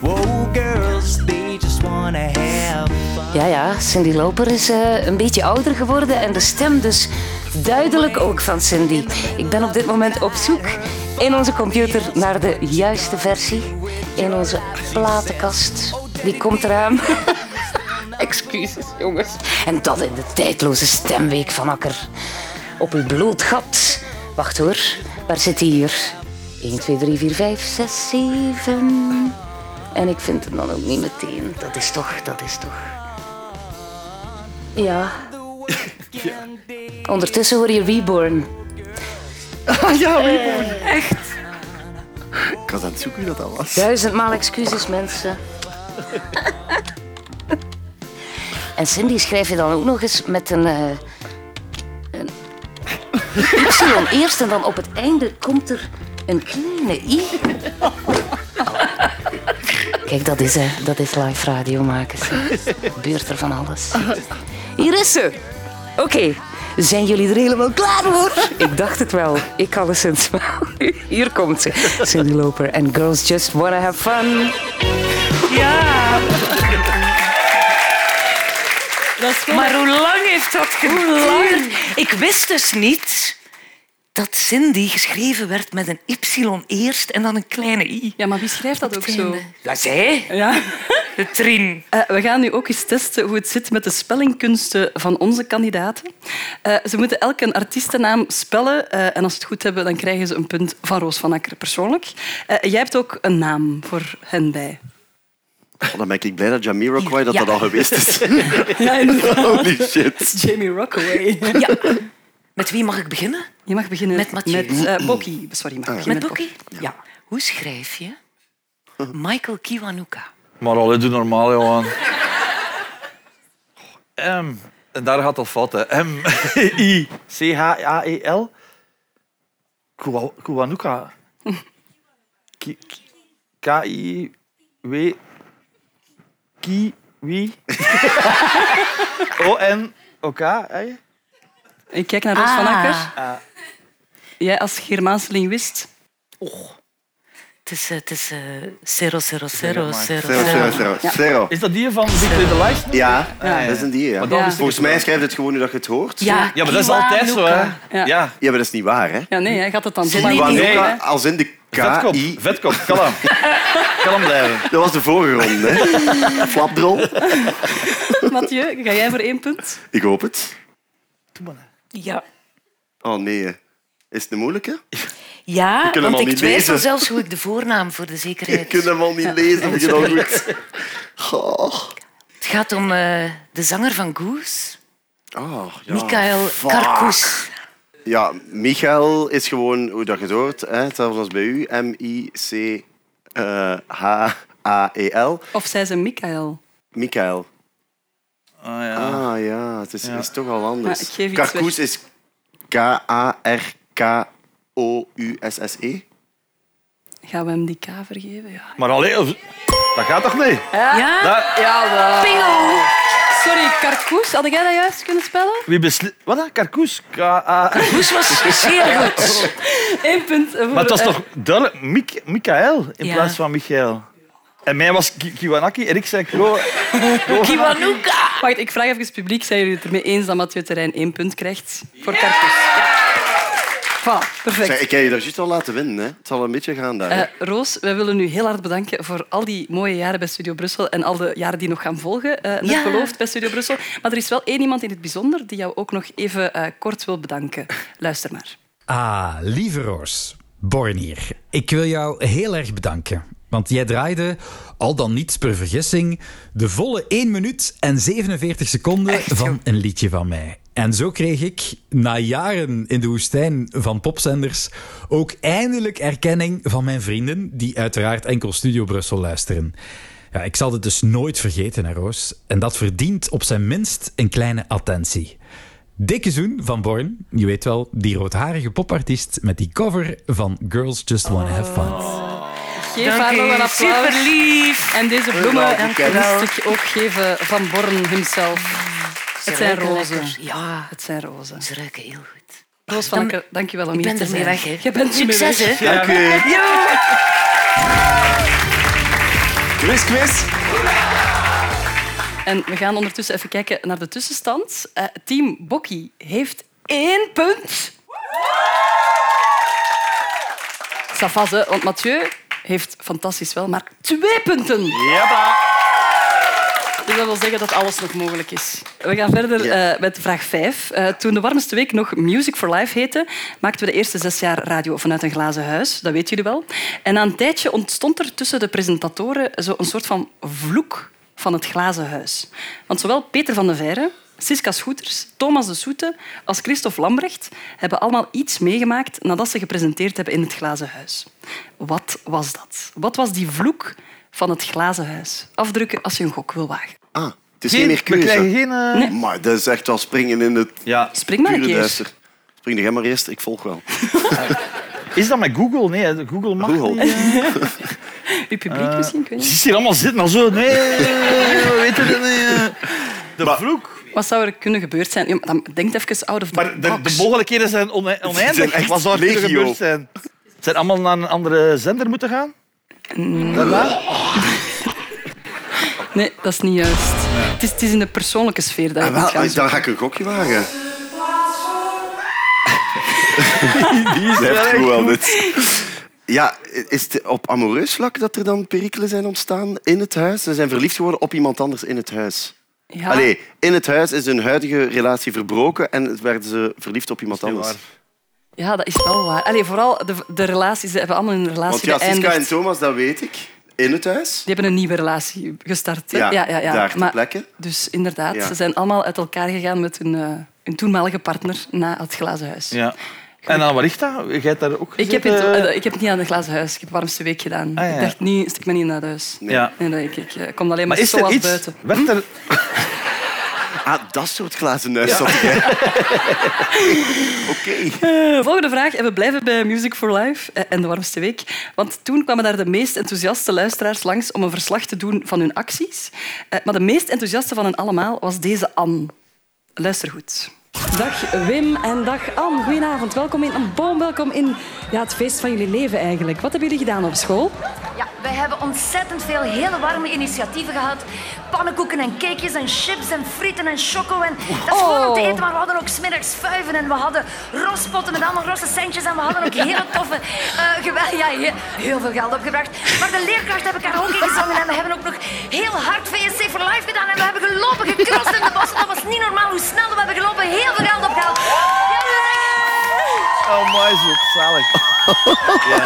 S14: Whoa, girls, they just wanna have fun.
S12: Ja, ja, Cindy Loper is eh, een beetje ouder geworden en de stem dus duidelijk ook van Cindy. Ik ben op dit moment op zoek in onze computer naar de juiste versie in onze platenkast. Die komt eraan. Excuses, jongens. En dat in de tijdloze stemweek van Akker. Op uw blootgat. Wacht hoor, waar zit hij hier? 1, 2, 3, 4, 5, 6, 7. En ik vind hem dan ook niet meteen. Dat is toch, dat is toch. Ja. Ondertussen hoor je Reborn.
S1: ja,
S12: Reborn. echt.
S3: Ik was aan het zoeken wie dat al was.
S12: Duizendmaal excuses, mensen. en Cindy schrijf je dan ook nog eens met een... eh, een y eerst en dan op het einde komt er een kleine i. Kijk, dat is, hè, dat is live radio maken. ze. Gebeurt er van alles. Hier is ze. Oké, zijn jullie er helemaal klaar voor? Ik dacht het wel. Ik alleszins wel. Hier komt ze. Cindy Loper en Girls Just Wanna Have Fun.
S2: Ja.
S11: Maar hoe lang heeft dat geduurd? Ik wist dus niet dat Cindy geschreven werd met een Y eerst en dan een kleine I.
S2: Ja, maar wie schrijft dat ook zo?
S11: Dat zij.
S2: Ja.
S11: De Trin.
S2: Eh, we gaan nu ook eens testen hoe het zit met de spellingkunsten van onze kandidaten. Eh, ze moeten elk een artiestennaam spellen. eh, en als ze het goed hebben, dan krijgen ze een punt van Roos van Akker persoonlijk. Eh, jij hebt ook een naam voor hen bij.
S3: Oh, dan ben ik blij dat Jamiroquai dat,
S2: Ja.
S3: dat al geweest is.
S2: Ja, inderdaad.
S3: Holy shit.
S2: Jamie Rockaway.
S11: Ja. Met wie mag ik beginnen?
S2: Je mag beginnen
S11: Met Mathieu.
S2: Met eh, Bokkie. Sorry, mag ik beginnen
S11: Met Bokkie? Ja. Hoe schrijf je Michael Kiwanuka?
S4: Maar al, doe normaal, Johan. M. En daar gaat dat fout, hè. M-I-C-H-A-E-L. E Kua- Kuwanuka. Ki- ki- K-I-W... Kiwi. O-N-O-K, hè?
S2: Ik kijk naar Roos van
S11: Ah.
S2: Akker. Jij als Germaanse linguist.
S11: Och. Het is, eh, het is eh, zero, zero,
S3: Zero,
S11: zero,
S3: maar.
S11: zero,
S3: Zero, zero, zero,
S11: Ja.
S3: zero.
S4: Is dat die van Big Little Lies?
S3: Ja,
S4: Ja, ja.
S3: dat is een die. Ja.
S4: Maar dan is het
S3: Volgens
S4: het
S3: mij
S4: wel.
S3: schrijft het gewoon nu dat je het hoort.
S4: Ja, Ja, maar dat is Kiwanuka. altijd zo, hè. Ja. ja,
S3: maar dat is niet waar, hè?
S2: Ja, nee, hij gaat het dan zo
S3: Kiwanuka,
S2: maar
S3: als in de
S4: Vetkop,
S3: K-I...
S4: vetkop, kalm. kalm blijven.
S3: Dat was de vorige ronde, hè? Flapdrol.
S2: Mathieu, ga jij voor één punt?
S3: Ik hoop het.
S11: Ja.
S3: Oh, nee. hè. Is het een moeilijke?
S11: Ja,
S3: We kunnen
S11: want
S3: hem al
S11: ik
S3: niet
S11: twijfel
S3: lezen.
S11: zelf zelfs hoe ik de voornaam voor de zekerheid...
S3: Ik kan hem al niet lezen, vind je dat goed? Goh.
S11: Het gaat om eh, de zanger van Goose,
S3: Oh, ja.
S11: Michael
S3: Fuck.
S11: Karkoes.
S3: Ja, Michael is gewoon hoe dat je het hoort, hè? hetzelfde als bij u. M-I-C-H-A-E-L.
S2: Of zij ze Michael?
S3: E Michael.
S4: Ah ja.
S3: Ah ja, het is,
S4: Ja.
S3: is toch al
S2: Ja, ik
S3: anders.
S2: geef iets
S3: Karkoes
S2: weg.
S3: is K-A-R-K-O-U-S-S-E.
S2: Gaan we hem die K vergeven? Ja.
S4: Maar alleen, of- dat gaat toch niet?
S2: Ja?
S4: Dat-
S2: wel.
S11: Ah.
S2: Sorry, karkoes. Had jij dat juist kunnen spellen?
S4: Wie besli- Wat dan? Karkoes? K-A... ah.
S11: Karkoes was zeer goed.
S2: Eén punt voor...
S4: Maar het was
S2: eh,
S4: toch duidelijk Mik Mikael in
S2: Ja.
S4: plaats van Michael. En mij was Ki- Kiwanaki en ik zei Kro...
S2: Kiwanuka! Eh, Wacht, ik vraag even het publiek. Zijn jullie het ermee eens dat Mathieu Terrein één punt krijgt? Voor karkoes. Ja. Voilà, perfect.
S3: Zeg, Ik heb je daar juist al laten winnen. Hè. Het zal een beetje gaan daar. hè.
S2: Eh, Roos, wij willen u heel hard bedanken voor al die mooie jaren bij Studio Brussel en al de jaren die nog gaan volgen, eh net
S11: Ja.
S2: beloofd bij Studio Brussel. Maar er is wel één iemand in het bijzonder die jou ook nog even eh, kort wil bedanken. Luister maar.
S13: Ah, lieve Roos. Born hier. Ik wil jou heel erg bedanken. Want jij draaide, al dan niet per vergissing, de volle 1 minuut en 47 seconden van een liedje van mij. En zo kreeg ik, na jaren in de woestijn van popzenders, ook eindelijk erkenning van mijn vrienden, die uiteraard enkel Studio Brussel luisteren. Ja, ik zal dit dus nooit vergeten, hè, Roos. En dat verdient op zijn minst een kleine attentie. Dikke zoen van Born, je weet wel, die roodharige popartiest met die cover van Girls Just Wanna Have Fun.
S2: Geef
S11: Dank
S2: haar nog
S11: u.
S2: een applaus.
S11: Superlief.
S2: En deze
S11: Dank
S2: bloemen
S11: u wel.
S2: moest ik ook geven van Born himself. Het zijn
S11: ruiken
S2: rozen.
S11: lekker. Ja.
S2: Het zijn rozen.
S11: Ze ruiken heel goed.
S2: Roos van Akker, dank je wel om
S11: Ik
S2: hier
S11: ben
S2: te
S11: ermee
S2: zijn.
S11: weg, hè.
S2: Je bent ermee
S11: Succes,
S2: weg.
S11: hè. Dank u.
S2: eh, Ja.
S1: Quiz, quiz.
S2: En we gaan ondertussen even kijken naar de tussenstand. Eh, team Bokkie heeft één punt. Savas, hè, want Mathieu heeft fantastisch wel maar twee punten.
S4: Ja,
S2: Dus dat wil zeggen dat alles nog mogelijk is. We gaan verder eh, met vraag 5. toen de warmste week nog Music for Life heette, maakten we de eerste zes jaar radio vanuit een glazen huis. Dat weten jullie wel. En na een tijdje ontstond er tussen de presentatoren zo een soort van vloek van het glazen huis. Want zowel Peter van der Veire, Siska Schoeters, Thomas de Soete als Christophe Lambrecht hebben allemaal iets meegemaakt nadat ze gepresenteerd hebben in het glazen huis. Wat was dat? Wat was die vloek van het glazen huis? Afdrukken als je een gok wil wagen.
S3: Ah, het is
S2: Geen-
S3: geen meer
S2: we
S3: keuze.
S2: krijgen geen, eh, Nee.
S3: Maar dat is echt wel springen in het
S4: ja.
S2: Spring maar een
S3: pure
S2: keer.
S3: duister. Spring jij maar eerst, ik volg wel.
S4: Is dat met Google? Nee, hè. Google mag
S3: Google.
S4: niet. hè.
S2: Uw publiek
S4: Eh,
S2: misschien, ik weet
S4: Ze
S2: niet.
S4: is hier allemaal zitten al zo. Nee, we weten het niet. hè. De vloek.
S2: Wat zou er kunnen gebeurd zijn? Ja, maar dan denk even out of the
S4: Maar de,
S2: box.
S4: de mogelijkheden zijn one- oneindig.
S3: Zijn echt
S4: Wat zou er kunnen
S3: legio.
S4: gebeurd zijn? Zijn allemaal naar een andere zender moeten gaan?
S2: Mm.
S4: Daarna?
S2: Nee, dat is niet juist. Het, is, het is in de persoonlijke sfeer dat je
S3: Ah,
S2: moet gaan
S3: wel,
S2: zoeken.
S3: dan ga ik een gokje wagen.
S4: Die
S3: is
S4: wel echt
S3: wel
S4: goed.
S3: dit. Ja, is het op amoureus vlak dat er dan perikelen zijn ontstaan in het huis? Ze zijn verliefd geworden op iemand anders in het huis.
S2: Ja.
S3: Allee, in het huis is hun huidige relatie verbroken en werden ze verliefd op iemand anders.
S2: Ja, dat is wel waar. Allee, vooral de, de relaties, ze hebben allemaal hun
S3: Want
S2: relatie
S3: ja, Siska en
S2: beëindigd.
S3: Thomas, dat weet ik. In het huis.
S2: Die hebben een nieuwe relatie gestart. hè?
S3: Ja, daar ter
S2: Maar-
S3: plekke.
S2: Dus inderdaad,
S3: Ja.
S2: ze zijn allemaal uit elkaar gegaan met hun, eh, hun toenmalige partner na het glazen huis.
S4: Ja. En aan wat ligt dat? Jij hebt daar ook
S2: Ik heb, het,
S4: gezeten?
S2: eh, ik heb het niet aan het glazen huis. Ik heb de warmste week gedaan.
S4: Ah, ja, ja.
S2: Ik dacht niet, stik me niet naar huis.
S4: Nee. Ja.
S2: Nee, nee, ik, ik, eh, kom alleen maar,
S4: Maar is
S2: zo
S4: er
S2: zoals
S4: iets?
S2: buiten. Hm?
S4: Werd er...
S3: Ah, dat soort glazen huis zat ik, hè. Oké.
S2: Eh, volgende vraag. En we blijven bij Music for Life eh, en de warmste week. Want toen kwamen daar de meest enthousiaste luisteraars langs om een verslag te doen van hun acties. Eh, maar de meest enthousiaste van hen allemaal was deze Anne. Luister goed. Dag Wim en dag Anne. Goedenavond. Welkom in een boom. Welkom in ja, het feest van jullie leven eigenlijk. Wat hebben jullie gedaan op school?
S15: Ja, wij hebben ontzettend veel hele warme initiatieven gehad. Pannenkoeken en cakejes en chips en frieten en choco. En dat is gewoon om te eten, maar we hadden ook smiddags vuiven. En we hadden rospotten met allemaal rosse centjes. En we hadden ook hele toffe... eh, gewel- ja, heel, heel veel geld opgebracht. Maar de leerkracht hebben karaoke gezongen. En we hebben ook nog heel hard VSC for Life gedaan. En we hebben gelopen, gekrost in de bossen. Dat was niet normaal hoe snel we hebben gelopen. Heel veel geld opgehaald.
S4: Oh, mooi zo. Zalig.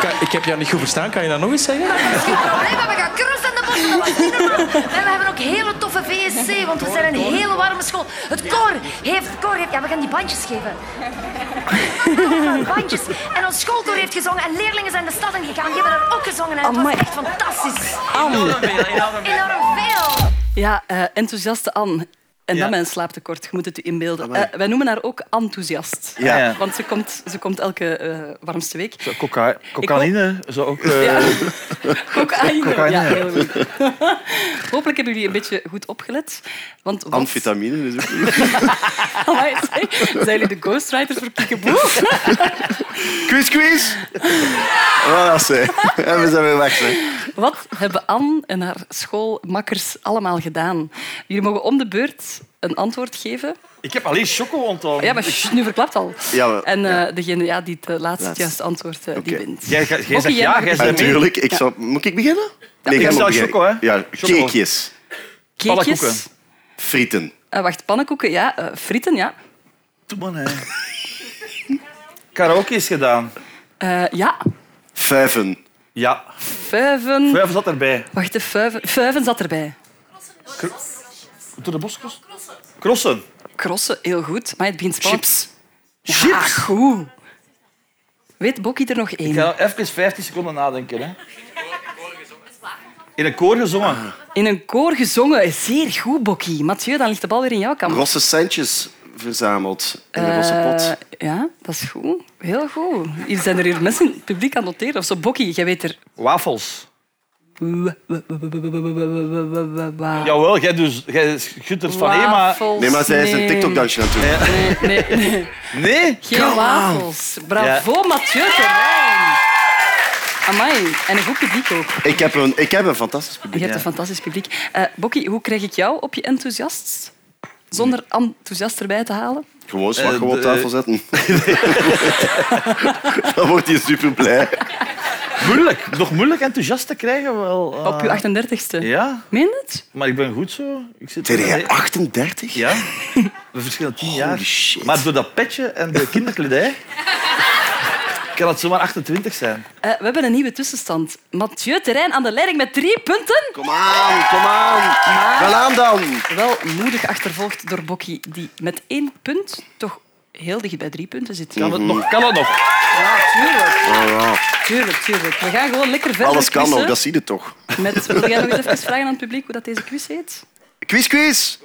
S16: Kan- Ik heb jou niet goed verstaan. Kan je dat nog eens zeggen?
S15: probleem, maar we gaan cross in de bossen. Dat was niet normaal. En we hebben ook hele toffe VSC, want we zijn een hele warme school. Het koor heeft... het koor heeft ja, we gaan die bandjes geven. Allemaal bandjes. En ons schoolkoor heeft gezongen en leerlingen zijn de stad ingegaan. Die hebben daar ook gezongen en het was echt fantastisch.
S2: Enorm veel,
S15: enorm veel. Enorm veel.
S2: Ja, eh, enthousiaste Anne. En
S15: Ja.
S2: dan mijn slaaptekort, je moet het je inbeelden.
S4: Amai.
S2: Eh, wij noemen haar ook enthousiast.
S4: Ja. Ja.
S2: Want ze komt, ze komt elke eh, warmste week.
S4: Zo, coca- cocaïne zou ook... eh,
S3: Eh,
S2: Cocaïne.
S4: Cocaïne.
S2: Ja, heel goed. Hopelijk hebben jullie een beetje goed opgelet. Want wat...
S3: Amfetamine is ook niet.
S2: Amai, zeg. Zijn jullie de ghostwriters voor Kiekeboe?
S3: Quiz, quiz. Voilà, Ah, ze. En we zijn weer weg, hè.
S2: Wat hebben Anne en haar schoolmakkers allemaal gedaan? Jullie mogen om de beurt een antwoord geven.
S4: Ik heb alleen choco onthouden.
S2: Ja, maar sst, nu verklapt al.
S3: Ja, maar-
S2: en eh, degene ja, die het eh, laatste het
S3: Laatst.
S2: juiste antwoord eh, die
S3: Oké.
S2: wint.
S4: Jij, jij
S2: Oké,
S4: zegt
S2: jij
S4: ja,
S2: mag
S4: jij
S2: het
S4: zegt nee.
S3: Natuurlijk, ik zou... Moet ik beginnen?
S4: ik
S3: jij
S4: zou
S3: moet beginnen.
S4: choco, hè.
S3: Ja,
S4: Choco.
S3: cakejes.
S2: Cakejes.
S3: Frieten.
S2: Eh, wacht, pannenkoeken, ja. eh, frieten, ja.
S4: Doe maar, hè. Karaoke is gedaan.
S2: Eh, ja,
S3: Vijven.
S4: Ja.
S2: vuiven.
S4: Vijf zat erbij.
S2: Wacht, de vuiven. vuiven zat erbij.
S4: Door de boskrossen? Crossen.
S2: Crossen, heel goed. Maar het begint spannend. Chips. Ja, goed. Weet Bokkie er nog één?
S4: Ah. Ik ga even 15 seconden nadenken. Hè. In een koor gezongen.
S2: In een koor gezongen. Zeer goed, Bokkie. Mathieu, dan ligt de bal weer in jouw kamp.
S3: Rosse centjes verzameld in een rosse pot.
S2: Eh, ja, dat is goed. Heel goed. Hier zijn er hier mensen in het publiek aan het noteren. Of zo, Bokkie, jij weet er...
S4: Wafels.
S2: Wa-
S4: Jawel, jij, dus, jij schudt er van
S2: Wafels,
S4: Ema.
S3: Nee, maar zij is een TikTok-dansje aan het doen.
S2: Nee, nee, nee.
S4: Nee?
S2: Geen wafels. Bravo, Mathieu Terijn. Amai. En een goed publiek ook.
S3: Ik heb een, ik heb een fantastisch
S2: Je
S3: publiek.
S2: hebt een fantastisch publiek. Eh Bokkie, hoe krijg ik jou op je enthousiast? Zonder enthousiast erbij te halen?
S3: Gewoon slag
S4: Eh,
S3: gewoon op
S4: de-
S3: tafel zetten. Dan wordt hij super blij.
S4: Moeilijk. Nog moeilijk enthousiast te krijgen. Wel, eh.
S3: Ah.
S2: Op je 38ste.
S4: Ja.
S2: Meen het?
S4: Maar ik ben goed zo. Ik zit
S3: Zijn jij 38?
S4: Ja. We verschillen tien jaar. Maar door dat petje en de kinderkledij kan het zomaar 28 zijn.
S2: Eh, we hebben een nieuwe tussenstand. Mathieu Terrein aan de leiding met drie punten.
S3: Kom aan, kom aan. Wel aan dan.
S2: Wel moedig achtervolgd door Bokkie, die met één punt toch heel dicht bij drie punten zit.
S4: Kan het nog? Kan het nog?
S2: Ja, tuurlijk.
S3: Oh, ja.
S2: Tuurlijk, tuurlijk. We gaan gewoon lekker verder
S3: Alles kan
S2: quizzen.
S3: nog, dat zie je toch.
S2: Met, wil jij nog eens even vragen aan het publiek hoe dat deze quiz heet?
S3: Quiz, quiz.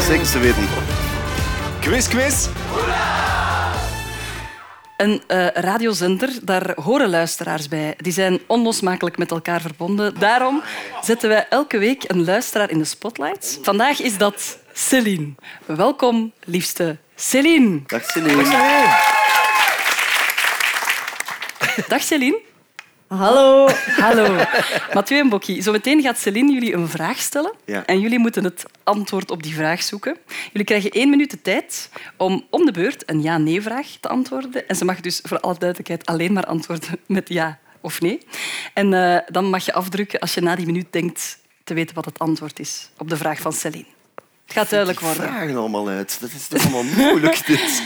S3: Zeker te weten.
S1: Quiz, quiz.
S2: Een eh, radiozender, daar horen luisteraars bij. Die zijn onlosmakelijk met elkaar verbonden. Daarom zetten wij elke week een luisteraar in de spotlight. Vandaag is dat Céline. Welkom, liefste Céline.
S3: Dag Céline.
S2: Dag Céline. Hallo. Hallo. Mathieu en Bokkie, zometeen gaat Céline jullie een vraag stellen.
S3: Ja.
S2: En jullie moeten het antwoord op die vraag zoeken. Jullie krijgen één minuut de tijd om om de beurt een ja-nee-vraag te antwoorden. En ze mag dus voor alle duidelijkheid alleen maar antwoorden met ja of nee. En eh, dan mag je afdrukken als je na die minuut denkt te weten wat het antwoord is op de vraag van Céline. Het gaat duidelijk
S3: Die
S2: worden.
S3: vragen allemaal uit. Dat is toch allemaal moeilijk, dit.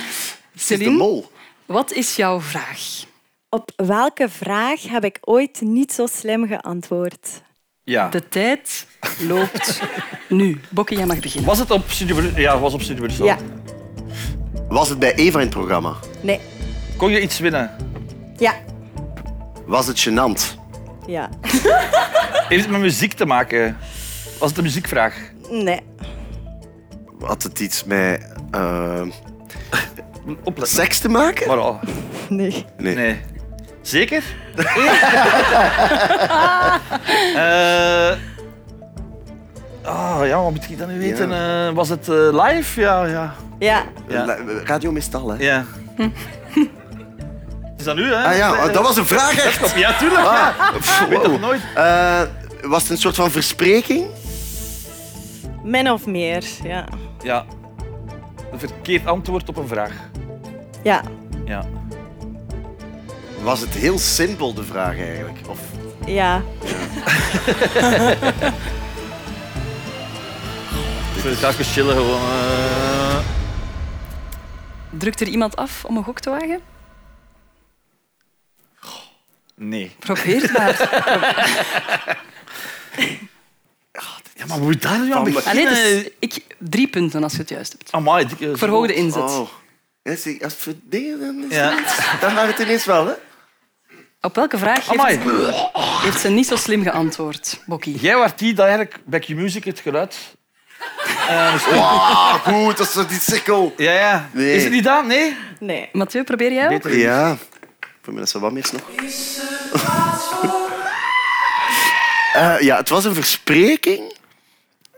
S3: Het is de mol.
S2: Wat is jouw vraag?
S17: Op welke vraag heb ik ooit niet zo slim geantwoord?
S4: Ja.
S2: De tijd loopt nu. Bokke, jij mag beginnen.
S4: Was het op Studio Bru- Ja, was op Studio Brussel.
S17: Ja.
S3: Was het bij Eva in het programma?
S17: Nee.
S4: Kon je iets winnen?
S17: Ja.
S3: Was het gênant?
S17: Ja.
S4: Heeft het met muziek te maken? Was het een muziekvraag?
S17: Nee.
S3: Had het iets met... eh, Seks te maken?
S4: Maar al.
S17: Nee.
S3: Nee.
S4: Zeker? Eh ah, ja, wat moet ik dan nu weten? Eh, was het eh, live? Ja, ja.
S17: Ja.
S3: Radio meestal, hè?
S4: Ja. Is dat nu, hè?
S3: Ah ja, dat was een vraag, echt.
S4: Dat klopt. Ja, tuurlijk. ja.
S3: Pff,
S4: Weet
S3: wow.
S4: dat nooit.
S3: Eh, was het een soort van verspreking?
S17: Min of meer, ja.
S4: Ja. Een verkeerd antwoord op een vraag.
S17: Ja.
S4: Ja.
S3: Was het heel simpel, de vraag eigenlijk? Of...
S17: Ja.
S4: Ik wil graag eens chillen gewoon. eh.
S2: Drukt er iemand af om een gok te wagen?
S4: nee.
S2: Probeer het maar.
S4: Ja, maar hoe moet daar nu aan beginnen?
S2: Allee, het Ah, is- ik, drie punten als je het juist hebt.
S4: Amai, dikke
S2: Ik verhoog de
S4: zot.
S2: inzet.
S4: Oh.
S3: Ja, zie, als we dingen dan is
S4: Ja.
S3: het- Dan gaat het ineens wel, hè?
S2: Op welke vraag
S4: Amai.
S2: heeft, heeft ze niet zo slim geantwoord, Bokkie?
S4: Jij was die dat eigenlijk bij Q Music het geluid. Eh, dus-
S3: Wauw, goed, dat is toch die sikkel.
S4: Ja, ja.
S3: Nee.
S4: Is het niet dat? Nee?
S17: Nee.
S2: Mathieu, probeer jij ook?
S3: Ja. Voor mij is dat wat meer nog. Eh, ja, het was een verspreking.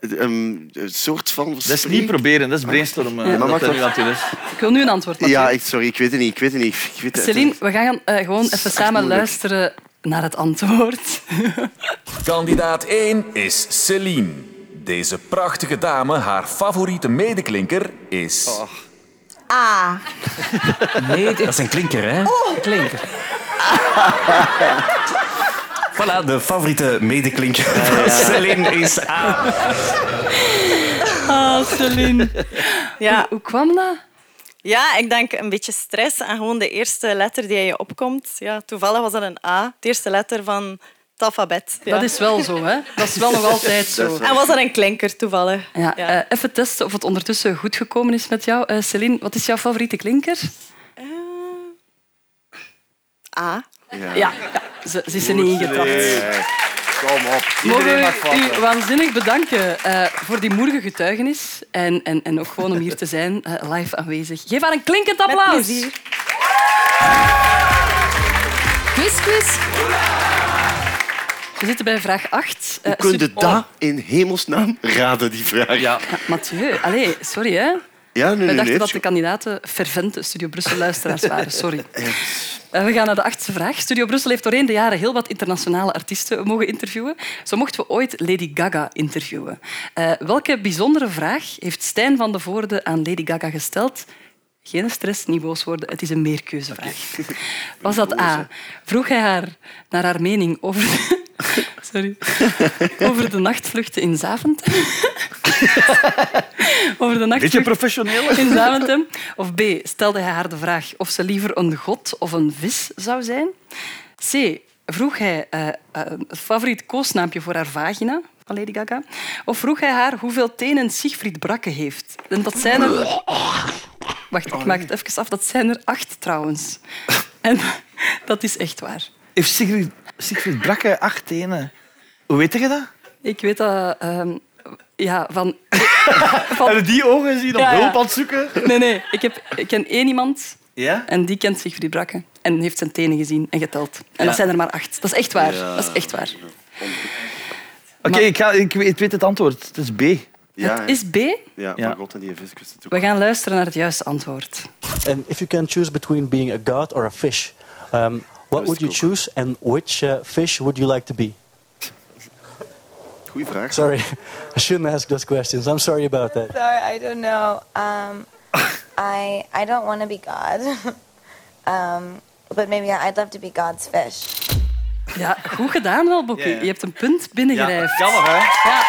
S3: Een, een soort van
S4: Dat is niet proberen, dat is brainstormen.
S3: Ja, maar
S4: dat
S3: mag
S4: dat nu
S3: dat-
S4: aan toe is.
S2: Ik wil nu een antwoord, Mathieu.
S3: Ja, ik, sorry, ik weet het niet. Ik weet het niet. Ik weet het
S2: Céline, we gaan eh, gewoon even samen
S3: moeilijk.
S2: luisteren naar het antwoord.
S18: Kandidaat 1 is Celine. Deze prachtige dame, haar favoriete medeklinker is.
S17: Ah.
S18: Nee, dat is een klinker, hè?
S17: Oh.
S18: Klinker. Voilà, de favoriete medeklinker van Celine is A.
S2: Ah, Céline.
S17: Ja.
S2: Hoe kwam dat?
S17: Ja, ik denk een beetje stress en gewoon de eerste letter die in je opkomt. Ja, toevallig was dat een A, de eerste letter van het alfabet. Ja.
S2: Dat is wel zo, hè? Dat is wel nog altijd zo.
S17: En was dat een klinker toevallig?
S2: Ja, eh, even testen of het ondertussen goed gekomen is met jou. Eh, Céline, wat is jouw favoriete klinker?
S17: Eh, A.
S2: Ja, ja, ze, ze is er niet ingetrapt. eh,
S3: Kom op.
S2: Mogen we u waanzinnig bedanken eh, voor die moedige getuigenis en, en, en ook gewoon om hier te zijn, eh, live aanwezig. Geef haar een klinkend applaus.
S17: plezier.
S2: Quiz, quiz. We zitten bij vraag Eh, 8.
S3: Hoe kun je
S2: Oh.
S3: dat in hemelsnaam raden, die vraag? Ja,
S2: Mathieu, allee, sorry hè.
S3: ja nee,
S2: We
S3: Ah, nee,
S2: dachten
S3: nee.
S2: dat de kandidaten fervente Studio Brussel-luisteraars waren. Sorry. Eh, We gaan naar de achtste vraag. Studio Brussel heeft doorheen de jaren heel wat internationale artiesten mogen interviewen. Zo mochten we ooit Lady Gaga interviewen. Eh, welke bijzondere vraag heeft Stijn van de Voorde aan Lady Gaga gesteld? Geen stress, niet boos worden. Het is een meerkeuzevraag. Was dat A? Vroeg hij haar naar haar mening over de, sorry, over de nachtvluchten in Zaventem? over de nachtvlucht
S4: Beetje professioneel.
S2: in Zaventem? Of B? Stelde hij haar de vraag of ze liever een god of een vis zou zijn? C. Vroeg hij eh, eh, het favoriet koosnaampje voor haar vagina? Van Lady Gaga. Of vroeg hij haar hoeveel tenen Siegfried Brakke heeft? En dat zijn er... Wacht, ik maak het even af. Dat zijn er acht trouwens. En dat is echt waar.
S4: Heeft Sigrid, Sigrid Brakke acht tenen? Hoe weet je dat?
S2: Ik weet dat... ehm, ja, van...
S4: Hebben die ogen zien op hulp aan het zoeken?
S2: Nee, nee. Ik, heb, ik ken één iemand
S4: Ja?
S2: en die kent Siegfried Brakke. En heeft zijn tenen gezien en geteld. En
S4: Ja.
S2: dat zijn er maar acht. Dat is echt waar.
S4: Ja.
S2: Dat is echt waar.
S4: Oké, ik ga. ik, weet- ik weet het antwoord. Het is B.
S3: Ja,
S2: Het is B.
S3: Ja, maar God en die vis kussen
S2: We gaan luisteren naar het juiste antwoord.
S19: And if you can choose between being a god or a fish, um, what would you choose and which uh, fish would you like to be?
S3: Goeie vraag.
S19: Sorry, I shouldn't ask those questions. I'm sorry about that.
S20: Sorry, I don't know. Um, I I don't want to be God, um, but maybe I'd love to be God's fish.
S2: Ja, goed gedaan wel, Bokkie.
S4: Ja, ja.
S2: Je hebt een punt binnengerijfd.
S4: Ja, jammer, hè?
S2: Ja.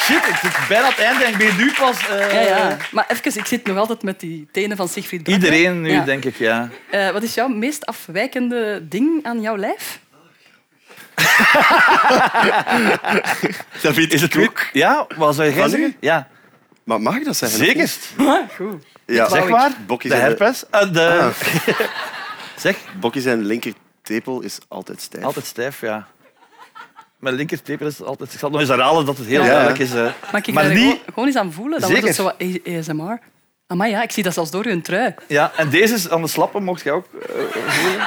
S4: Shit, ik zit bijna aan het einde en ik ben nu pas... eh,
S2: Ja, ja. Maar even, ik zit nog altijd met die tenen van Siegfried Brakke.
S4: Iedereen nu,
S2: Ja.
S4: denk ik, ja.
S2: Eh, wat is jouw meest afwijkende ding aan jouw lijf?
S3: Dat weet ik ook.
S4: Ja, wat zou jij zeggen? Ja.
S3: Maar mag ik dat zeggen?
S4: Zeker.
S2: Goed.
S3: Ja,
S4: Zeg maar.
S3: Bokkie
S4: de
S3: zijn
S4: herpes. Eh, de... zeg.
S3: Bokkie zijn linkertepel is altijd stijf.
S4: Altijd stijf, ja. Mijn linkertepel is altijd... Ik zal nog eens herhalen dat het heel
S3: Ja.
S4: duidelijk is. eh.
S2: Mag ik
S4: maar
S2: daar
S4: die...
S2: gewoon, gewoon eens aan voelen? Dan
S4: Zeker.
S2: wordt het zo wat ASMR. Amai, ja, ik zie dat zelfs door hun trui.
S4: Ja, en deze is aan de slappen, mocht jij ook eh, voelen.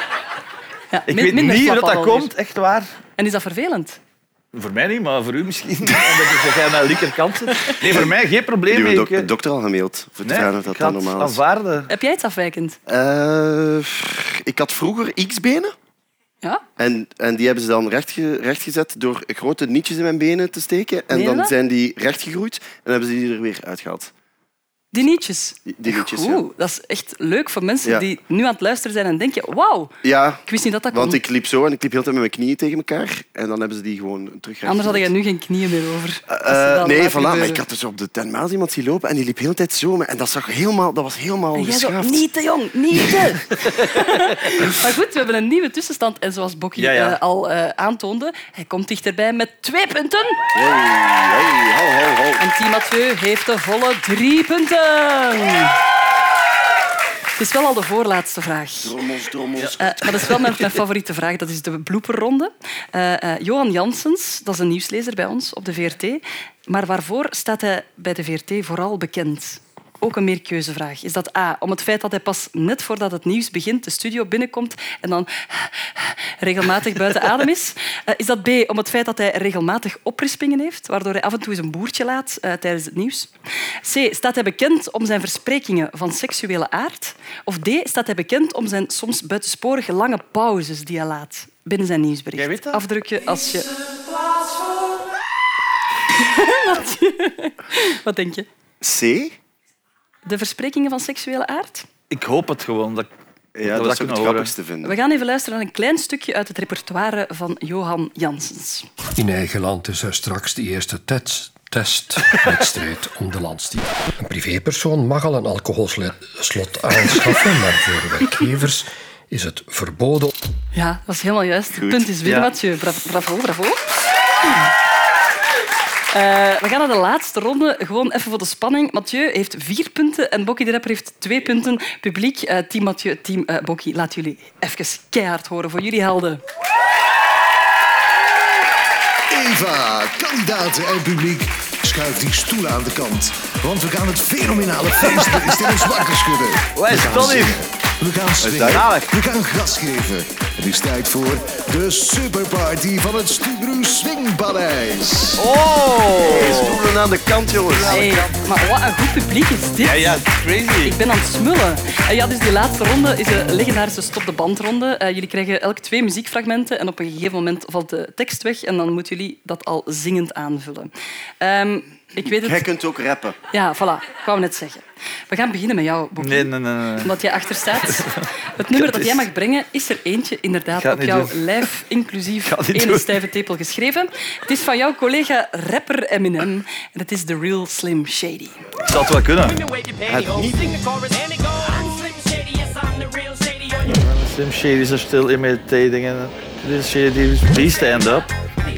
S2: Ja,
S4: Ik
S2: min-
S4: weet
S2: minder
S4: niet hoe
S2: slap
S4: dat
S2: al dus.
S4: komt, echt waar.
S2: En is dat vervelend?
S4: Voor mij niet, maar voor u misschien. Omdat ik zeg, jij aan de linkerkant zit. Nee, voor mij geen probleem.
S3: Nu
S4: Ik,
S3: dok
S4: eh,
S3: dokter al gemaild voor te
S4: Nee,
S3: vragen of dat
S4: ik had
S3: dan normaal is.
S4: aanvaarden.
S2: Heb jij iets afwijkend?
S3: Eh, ik had vroeger X-benen.
S2: Ja?
S3: En, en die hebben ze dan rechtge, rechtgezet door grote nietjes in mijn benen te steken. En
S2: Meen je
S3: dan
S2: dat?
S3: zijn die rechtgegroeid en hebben ze die er weer uitgehaald.
S2: Die nietjes.
S3: Die, die nietjes, ja.
S2: Oeh, dat is echt leuk voor mensen
S3: Ja.
S2: die nu aan het luisteren zijn en denken... Wauw,
S3: Ja,
S2: ik wist niet dat dat kon.
S3: want ik liep zo en ik liep heel tijd met mijn knieën tegen elkaar. En dan hebben ze die gewoon terug
S2: Anders had
S3: rechtgezet.
S2: je nu geen knieën meer over. Als je
S3: Eh,
S2: dat
S3: nee,
S2: laat
S3: voilà. Maar
S2: gebeuren.
S3: ik had dus op de Tenmaas iemand zien lopen en die liep de hele tijd zo. maar- En dat, zag helemaal, dat was helemaal
S2: En jij zo,
S3: geschaafd.
S2: niet te jong, niet te... maar goed, we hebben een nieuwe tussenstand. En zoals Bokkie
S3: Ja, ja.
S2: eh, al eh, aantoonde, hij komt dichterbij met twee punten. En Team Mathieu heeft de volle drie punten. Het is wel al de voorlaatste vraag.
S3: Drommels, drommels.
S2: Eh, maar dat is wel mijn, mijn favoriete vraag. Dat is de bloeperronde. Eh, eh, Johan Janssens, dat is een nieuwslezer bij ons op de VRT. Maar waarvoor staat hij bij de VRT vooral bekend? Ook een meerkeuzevraag. Is dat A, om het feit dat hij pas net voordat het nieuws begint de studio binnenkomt en dan regelmatig buiten adem is? Eh, Is dat B, om het feit dat hij regelmatig oprispingen heeft, waardoor hij af en toe eens een boertje laat eh, tijdens het nieuws? C, staat hij bekend om zijn versprekingen van seksuele aard? Of D, staat hij bekend om zijn soms buitensporig lange pauzes die hij laat binnen zijn nieuwsbericht? Jij weet dat? Afdrukje als je... Wat denk je?
S3: C?
S2: De versprekingen van seksuele aard?
S4: Ik hoop het gewoon. Dat,
S3: Ja,
S4: we
S3: dat, is
S4: kunnen
S3: ook het
S4: horen.
S3: grappigste vinden.
S2: We gaan even luisteren naar een klein stukje uit het repertoire van Johan Janssens.
S21: In eigen land is er straks de eerste test. Testwedstrijd om de landstitel. Een privépersoon mag al een alcoholslot aanschaffen, maar voor werkgevers is het verboden.
S2: Ja, dat is helemaal juist. Het punt is weer
S21: Ja.
S2: Mathieu. Bra- bravo, bravo. Eh, we gaan naar de laatste ronde. Gewoon even voor de spanning. Mathieu heeft vier punten en Bokkie de Rapper heeft twee punten. Publiek, eh, team Mathieu, team eh Bokkie, laat jullie even keihard horen voor jullie helden.
S22: Eva, kandidaten en publiek, schuif die stoelen aan de kant. Want we gaan het fenomenale feest in ons wakker schudden.
S4: Waar is
S22: We gaan
S4: Tony?
S22: zingen, We gaan
S4: Waar
S22: swingen. We gaan gas geven. Het is tijd voor de superparty van het Stubru Swingpaleis.
S4: Oh!
S3: Stoelen aan de kant, jongens.
S2: Hey, maar wat een goed publiek is dit. Ja, ja,
S4: crazy.
S2: Ik ben aan het smullen. Eh, ja, dus die laatste ronde is een legendarische stop de band ronde. Eh, jullie krijgen elk twee muziekfragmenten en op een gegeven moment valt de tekst weg en dan moeten jullie dat al zingend aanvullen. Ehm, Ik weet het.
S3: Jij kunt ook rappen.
S2: Ja, voilà. Ik wou net zeggen. We gaan beginnen met jou, Bob.
S4: Nee, nee, nee. nee.
S2: Omdat jij achter staat. Het nummer dat jij mag brengen is er eentje
S4: Ik
S2: inderdaad
S4: ga het
S2: op
S4: niet
S2: jouw
S4: doen.
S2: lijf, inclusief
S4: ga het niet
S2: ene
S4: doen.
S2: stijve tepel geschreven. Het is van jouw collega rapper Eminem en het is The Real Slim Shady.
S4: Het zou het wel kunnen.
S11: Oh,
S4: Slim Shady is still imitating. En Slim Shady, please stand up.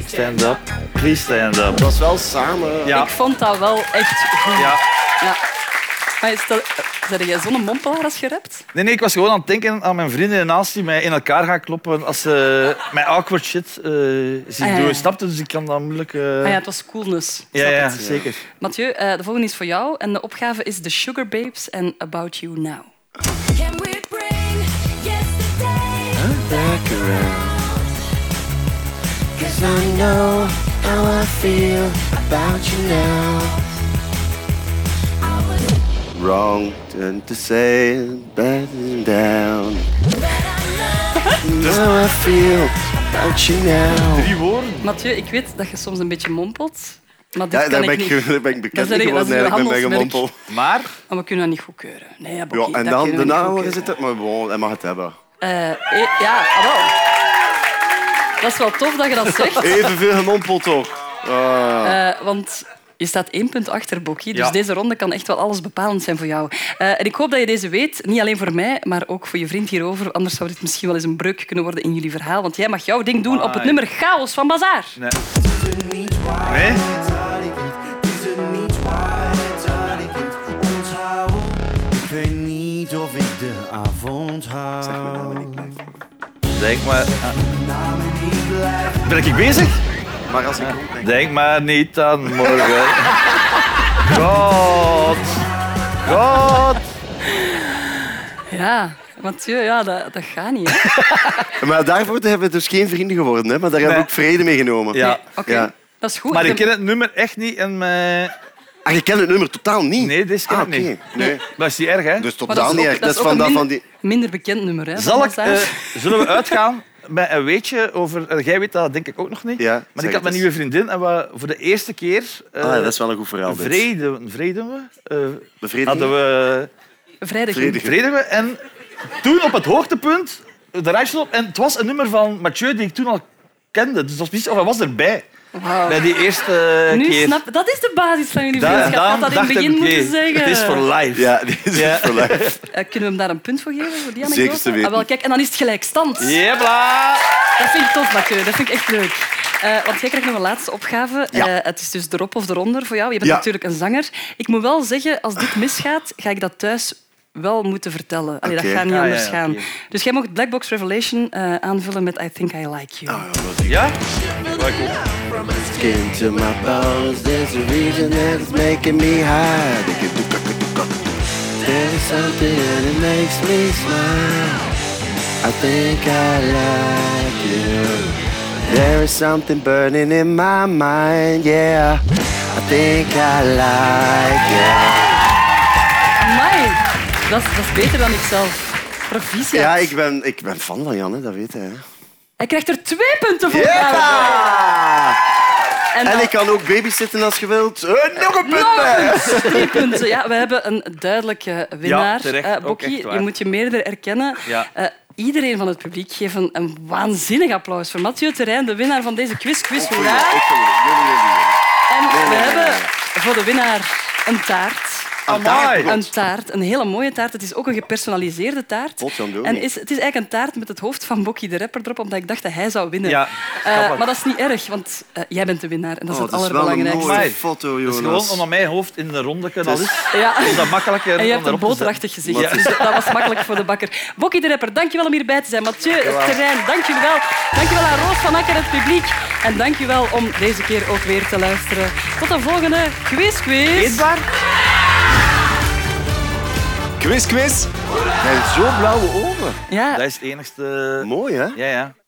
S4: Stand up. Please stand up.
S3: Dat is wel samen.
S4: Ja.
S2: Ik vond dat wel echt goed.
S4: Ja.
S2: ja. Maar stel, zijn jij zo'n mompelaar als je rapt?
S4: Nee, nee, ik was gewoon aan het denken aan mijn vrienden en naast die mij in elkaar gaan kloppen als ze mij awkward shit eh zien
S2: Ah, ja, ja.
S4: doen. Snap je? Dus ik kan dat moeilijk... eh,
S2: Ah ja, het was coolness. Ik
S4: ja,
S2: snap
S4: ja,
S2: het.
S4: zeker.
S2: Mathieu, eh, de volgende is voor jou. En de opgave is The Sugar Babes en About You Now.
S14: Back around. Cause I know how I feel about you now.
S3: Wrong turn to say that and down. Now I feel about you now.
S4: Drie woorden.
S2: Mathieu, ik weet dat je soms een beetje mompelt. Maar dit
S3: Ja, daar
S2: kan
S3: ben ik,
S2: ik niet.
S3: daar ben ik
S2: Dat
S3: bekend
S2: is
S3: mee
S2: een- dat is
S3: geworden.
S2: een
S3: eigenlijk, met mijn
S2: handelsmerk.
S3: gemompel.
S4: Maar?
S2: Maar we kunnen dat niet goedkeuren. Nee, ja,
S3: Ja,
S2: Bokkie,
S3: en
S2: dat
S3: dan,
S2: kunnen we niet
S3: daarna
S2: goedkeuren.
S3: is het... Maar bon, hij mag het hebben.
S2: Eh, eh, ja, jawel. Dat is wel tof dat je dat zegt.
S3: Evenveel gemompeld ook. Ah.
S2: Eh, want je staat één punt achter Bokkie, dus
S3: Ja.
S2: deze ronde kan echt wel alles bepalend zijn voor jou. Eh, en ik hoop dat je deze weet, niet alleen voor mij, maar ook voor je vriend hierover. Anders zou dit misschien wel eens een breuk kunnen worden in jullie verhaal. Want jij mag jouw ding doen op het
S4: Amai.
S2: nummer Chaos van Bazaar.
S4: Nee. Nee?
S14: Ik weet niet of ik de avond hou.
S4: Denk maar... ah. Ben ik bezig? Maar als ik... Denk maar niet aan morgen. God. God.
S2: Ja, Mathieu, ja, dat, dat gaat niet. hè.
S3: Maar daarvoor hebben we dus geen vrienden geworden, hè? maar daar hebben we ook vrede mee genomen.
S4: Ja. Nee,
S2: oké. Dat is goed.
S4: Maar ik
S2: Ik ben-
S4: ken het nummer echt niet en mijn...
S3: Ah, je kent het nummer totaal niet?
S4: Nee, dit ken
S3: Ah,
S4: ik
S3: oké.
S4: niet.
S3: Nee.
S4: Dat is niet erg, hè? Dus
S2: Maar ook- ook een min- minder bekend nummer. Hè, van
S4: Zal ik,
S2: Bazaar.
S4: eh, zullen we uitgaan met een weetje over... eh, jij weet dat denk ik ook nog niet. maar
S3: zeg
S4: ik had
S3: het
S4: mijn
S3: eens.
S4: nieuwe vriendin en we, voor de eerste keer... eh,
S3: Ah, dat is wel een goed verhaal, dit.
S4: Vrede, vreden we? eh,
S3: Bevredigen?
S4: Hadden we...
S2: Vrijdag.
S4: Vredigen we. En toen op het hoogtepunt, eh, de rijstje op. En het was een nummer van Mathieu die ik toen al kende. Dus dat was precies, of hij was erbij.
S3: Ah.
S2: Wauw.
S4: Bij die eerste
S2: nu
S4: keer.
S2: snap dat is de basis van jullie
S4: Da-
S2: vriendschap. Ik
S4: daarom
S2: had dat in het
S4: dacht
S2: begin
S4: ik,
S2: moeten
S4: oké,
S2: zeggen.
S4: Het is voor life.
S3: Ja, dit is
S4: Ja.
S3: het voor life.
S2: Eh, kunnen we hem daar een punt voor geven? Voor die
S3: Zeker
S2: anekdote?
S3: te weten.
S2: Ah, wel, kijk, en dan is het gelijkstand.
S4: Jebla!
S2: Dat vind ik tof, Mathieu. Dat vind ik echt leuk. Eh, want jij krijgt nog een laatste opgave.
S3: Ja.
S2: Eh, het is dus erop of eronder voor jou. Je bent
S3: Ja.
S2: natuurlijk een zanger. Ik moet wel zeggen, als dit misgaat, ga ik dat thuis wel moeten vertellen. Allee,
S3: Oké.
S2: Dat gaat niet
S3: Ah, ja,
S2: anders
S3: ja,
S2: gaan.
S3: oké.
S2: Dus jij mocht Black Box Revelation eh, aanvullen met I Think I Like
S3: Ah,
S2: You.
S4: Ja?
S14: Skin to my bones, there's a reason that it's making me high. There's something that makes me smile.
S3: I think I like you. There is something burning in my mind, yeah. I think I like you.
S2: Amai, dat is, dat is beter dan ik zelf. Proficiat.
S3: Ja, ik ben, ik ben fan van Janne, dat weet hij. hè.
S2: Hij krijgt er twee punten voor.
S3: Ja!
S2: En
S3: En,
S2: dan-
S3: ik kan ook babysitten als je wilt. Eh, nog een punt bij.
S2: Nog eens drie punten. Ja, we hebben een duidelijke winnaar.
S3: Ja, terecht.
S2: Eh,
S3: Ook
S2: Bokkie,
S3: echt waar.
S2: je moet je meerdere erkennen.
S3: Ja.
S2: Eh, iedereen van het publiek geeft een, een waanzinnig applaus voor Mathieu Terrein, de winnaar van deze quiz. Quiz, hoera.
S3: nee,
S2: En we
S3: nee,
S2: hebben
S3: nee,
S2: voor de winnaar een taart.
S3: Een taart, God.
S2: Een taart, een hele mooie taart. Het is ook een gepersonaliseerde taart.
S3: Potjan doe.
S2: En is, het is eigenlijk een taart met het hoofd van Bokkie de rapper erop, omdat ik dacht dat hij zou winnen.
S3: Ja,
S2: Eh,
S4: grappig.
S2: maar dat is niet erg, want eh, jij bent de winnaar en dat is
S3: Oh,
S2: het
S3: dat is wel een
S2: allerbelangrijkste.
S3: mooie foto,
S4: Het is
S3: Jonas.
S4: gewoon omdat mijn hoofd in de ronde kan.
S3: Het
S4: Al
S3: is-
S4: is,
S2: Ja.
S4: is dat makkelijker
S2: En je
S4: om
S2: hebt een
S4: daarop te zetten.
S2: boterachtig gezicht,
S4: Maar-
S2: dus dat was makkelijk voor de bakker. Bokkie de Rapper, dankjewel om hierbij te zijn. Mathieu, het
S4: Dankjewel.
S2: terrein, dankjewel. Dankjewel aan Roos van Akker, het publiek. En dankjewel om deze keer ook weer te luisteren. Tot de volgende Quiz Quiz. Eetbaar.
S3: Quiz, quiz. Hij heeft zo blauwe ogen.
S2: Ja.
S4: Dat is het enigste...
S3: Mooi, hè?
S4: Ja, ja.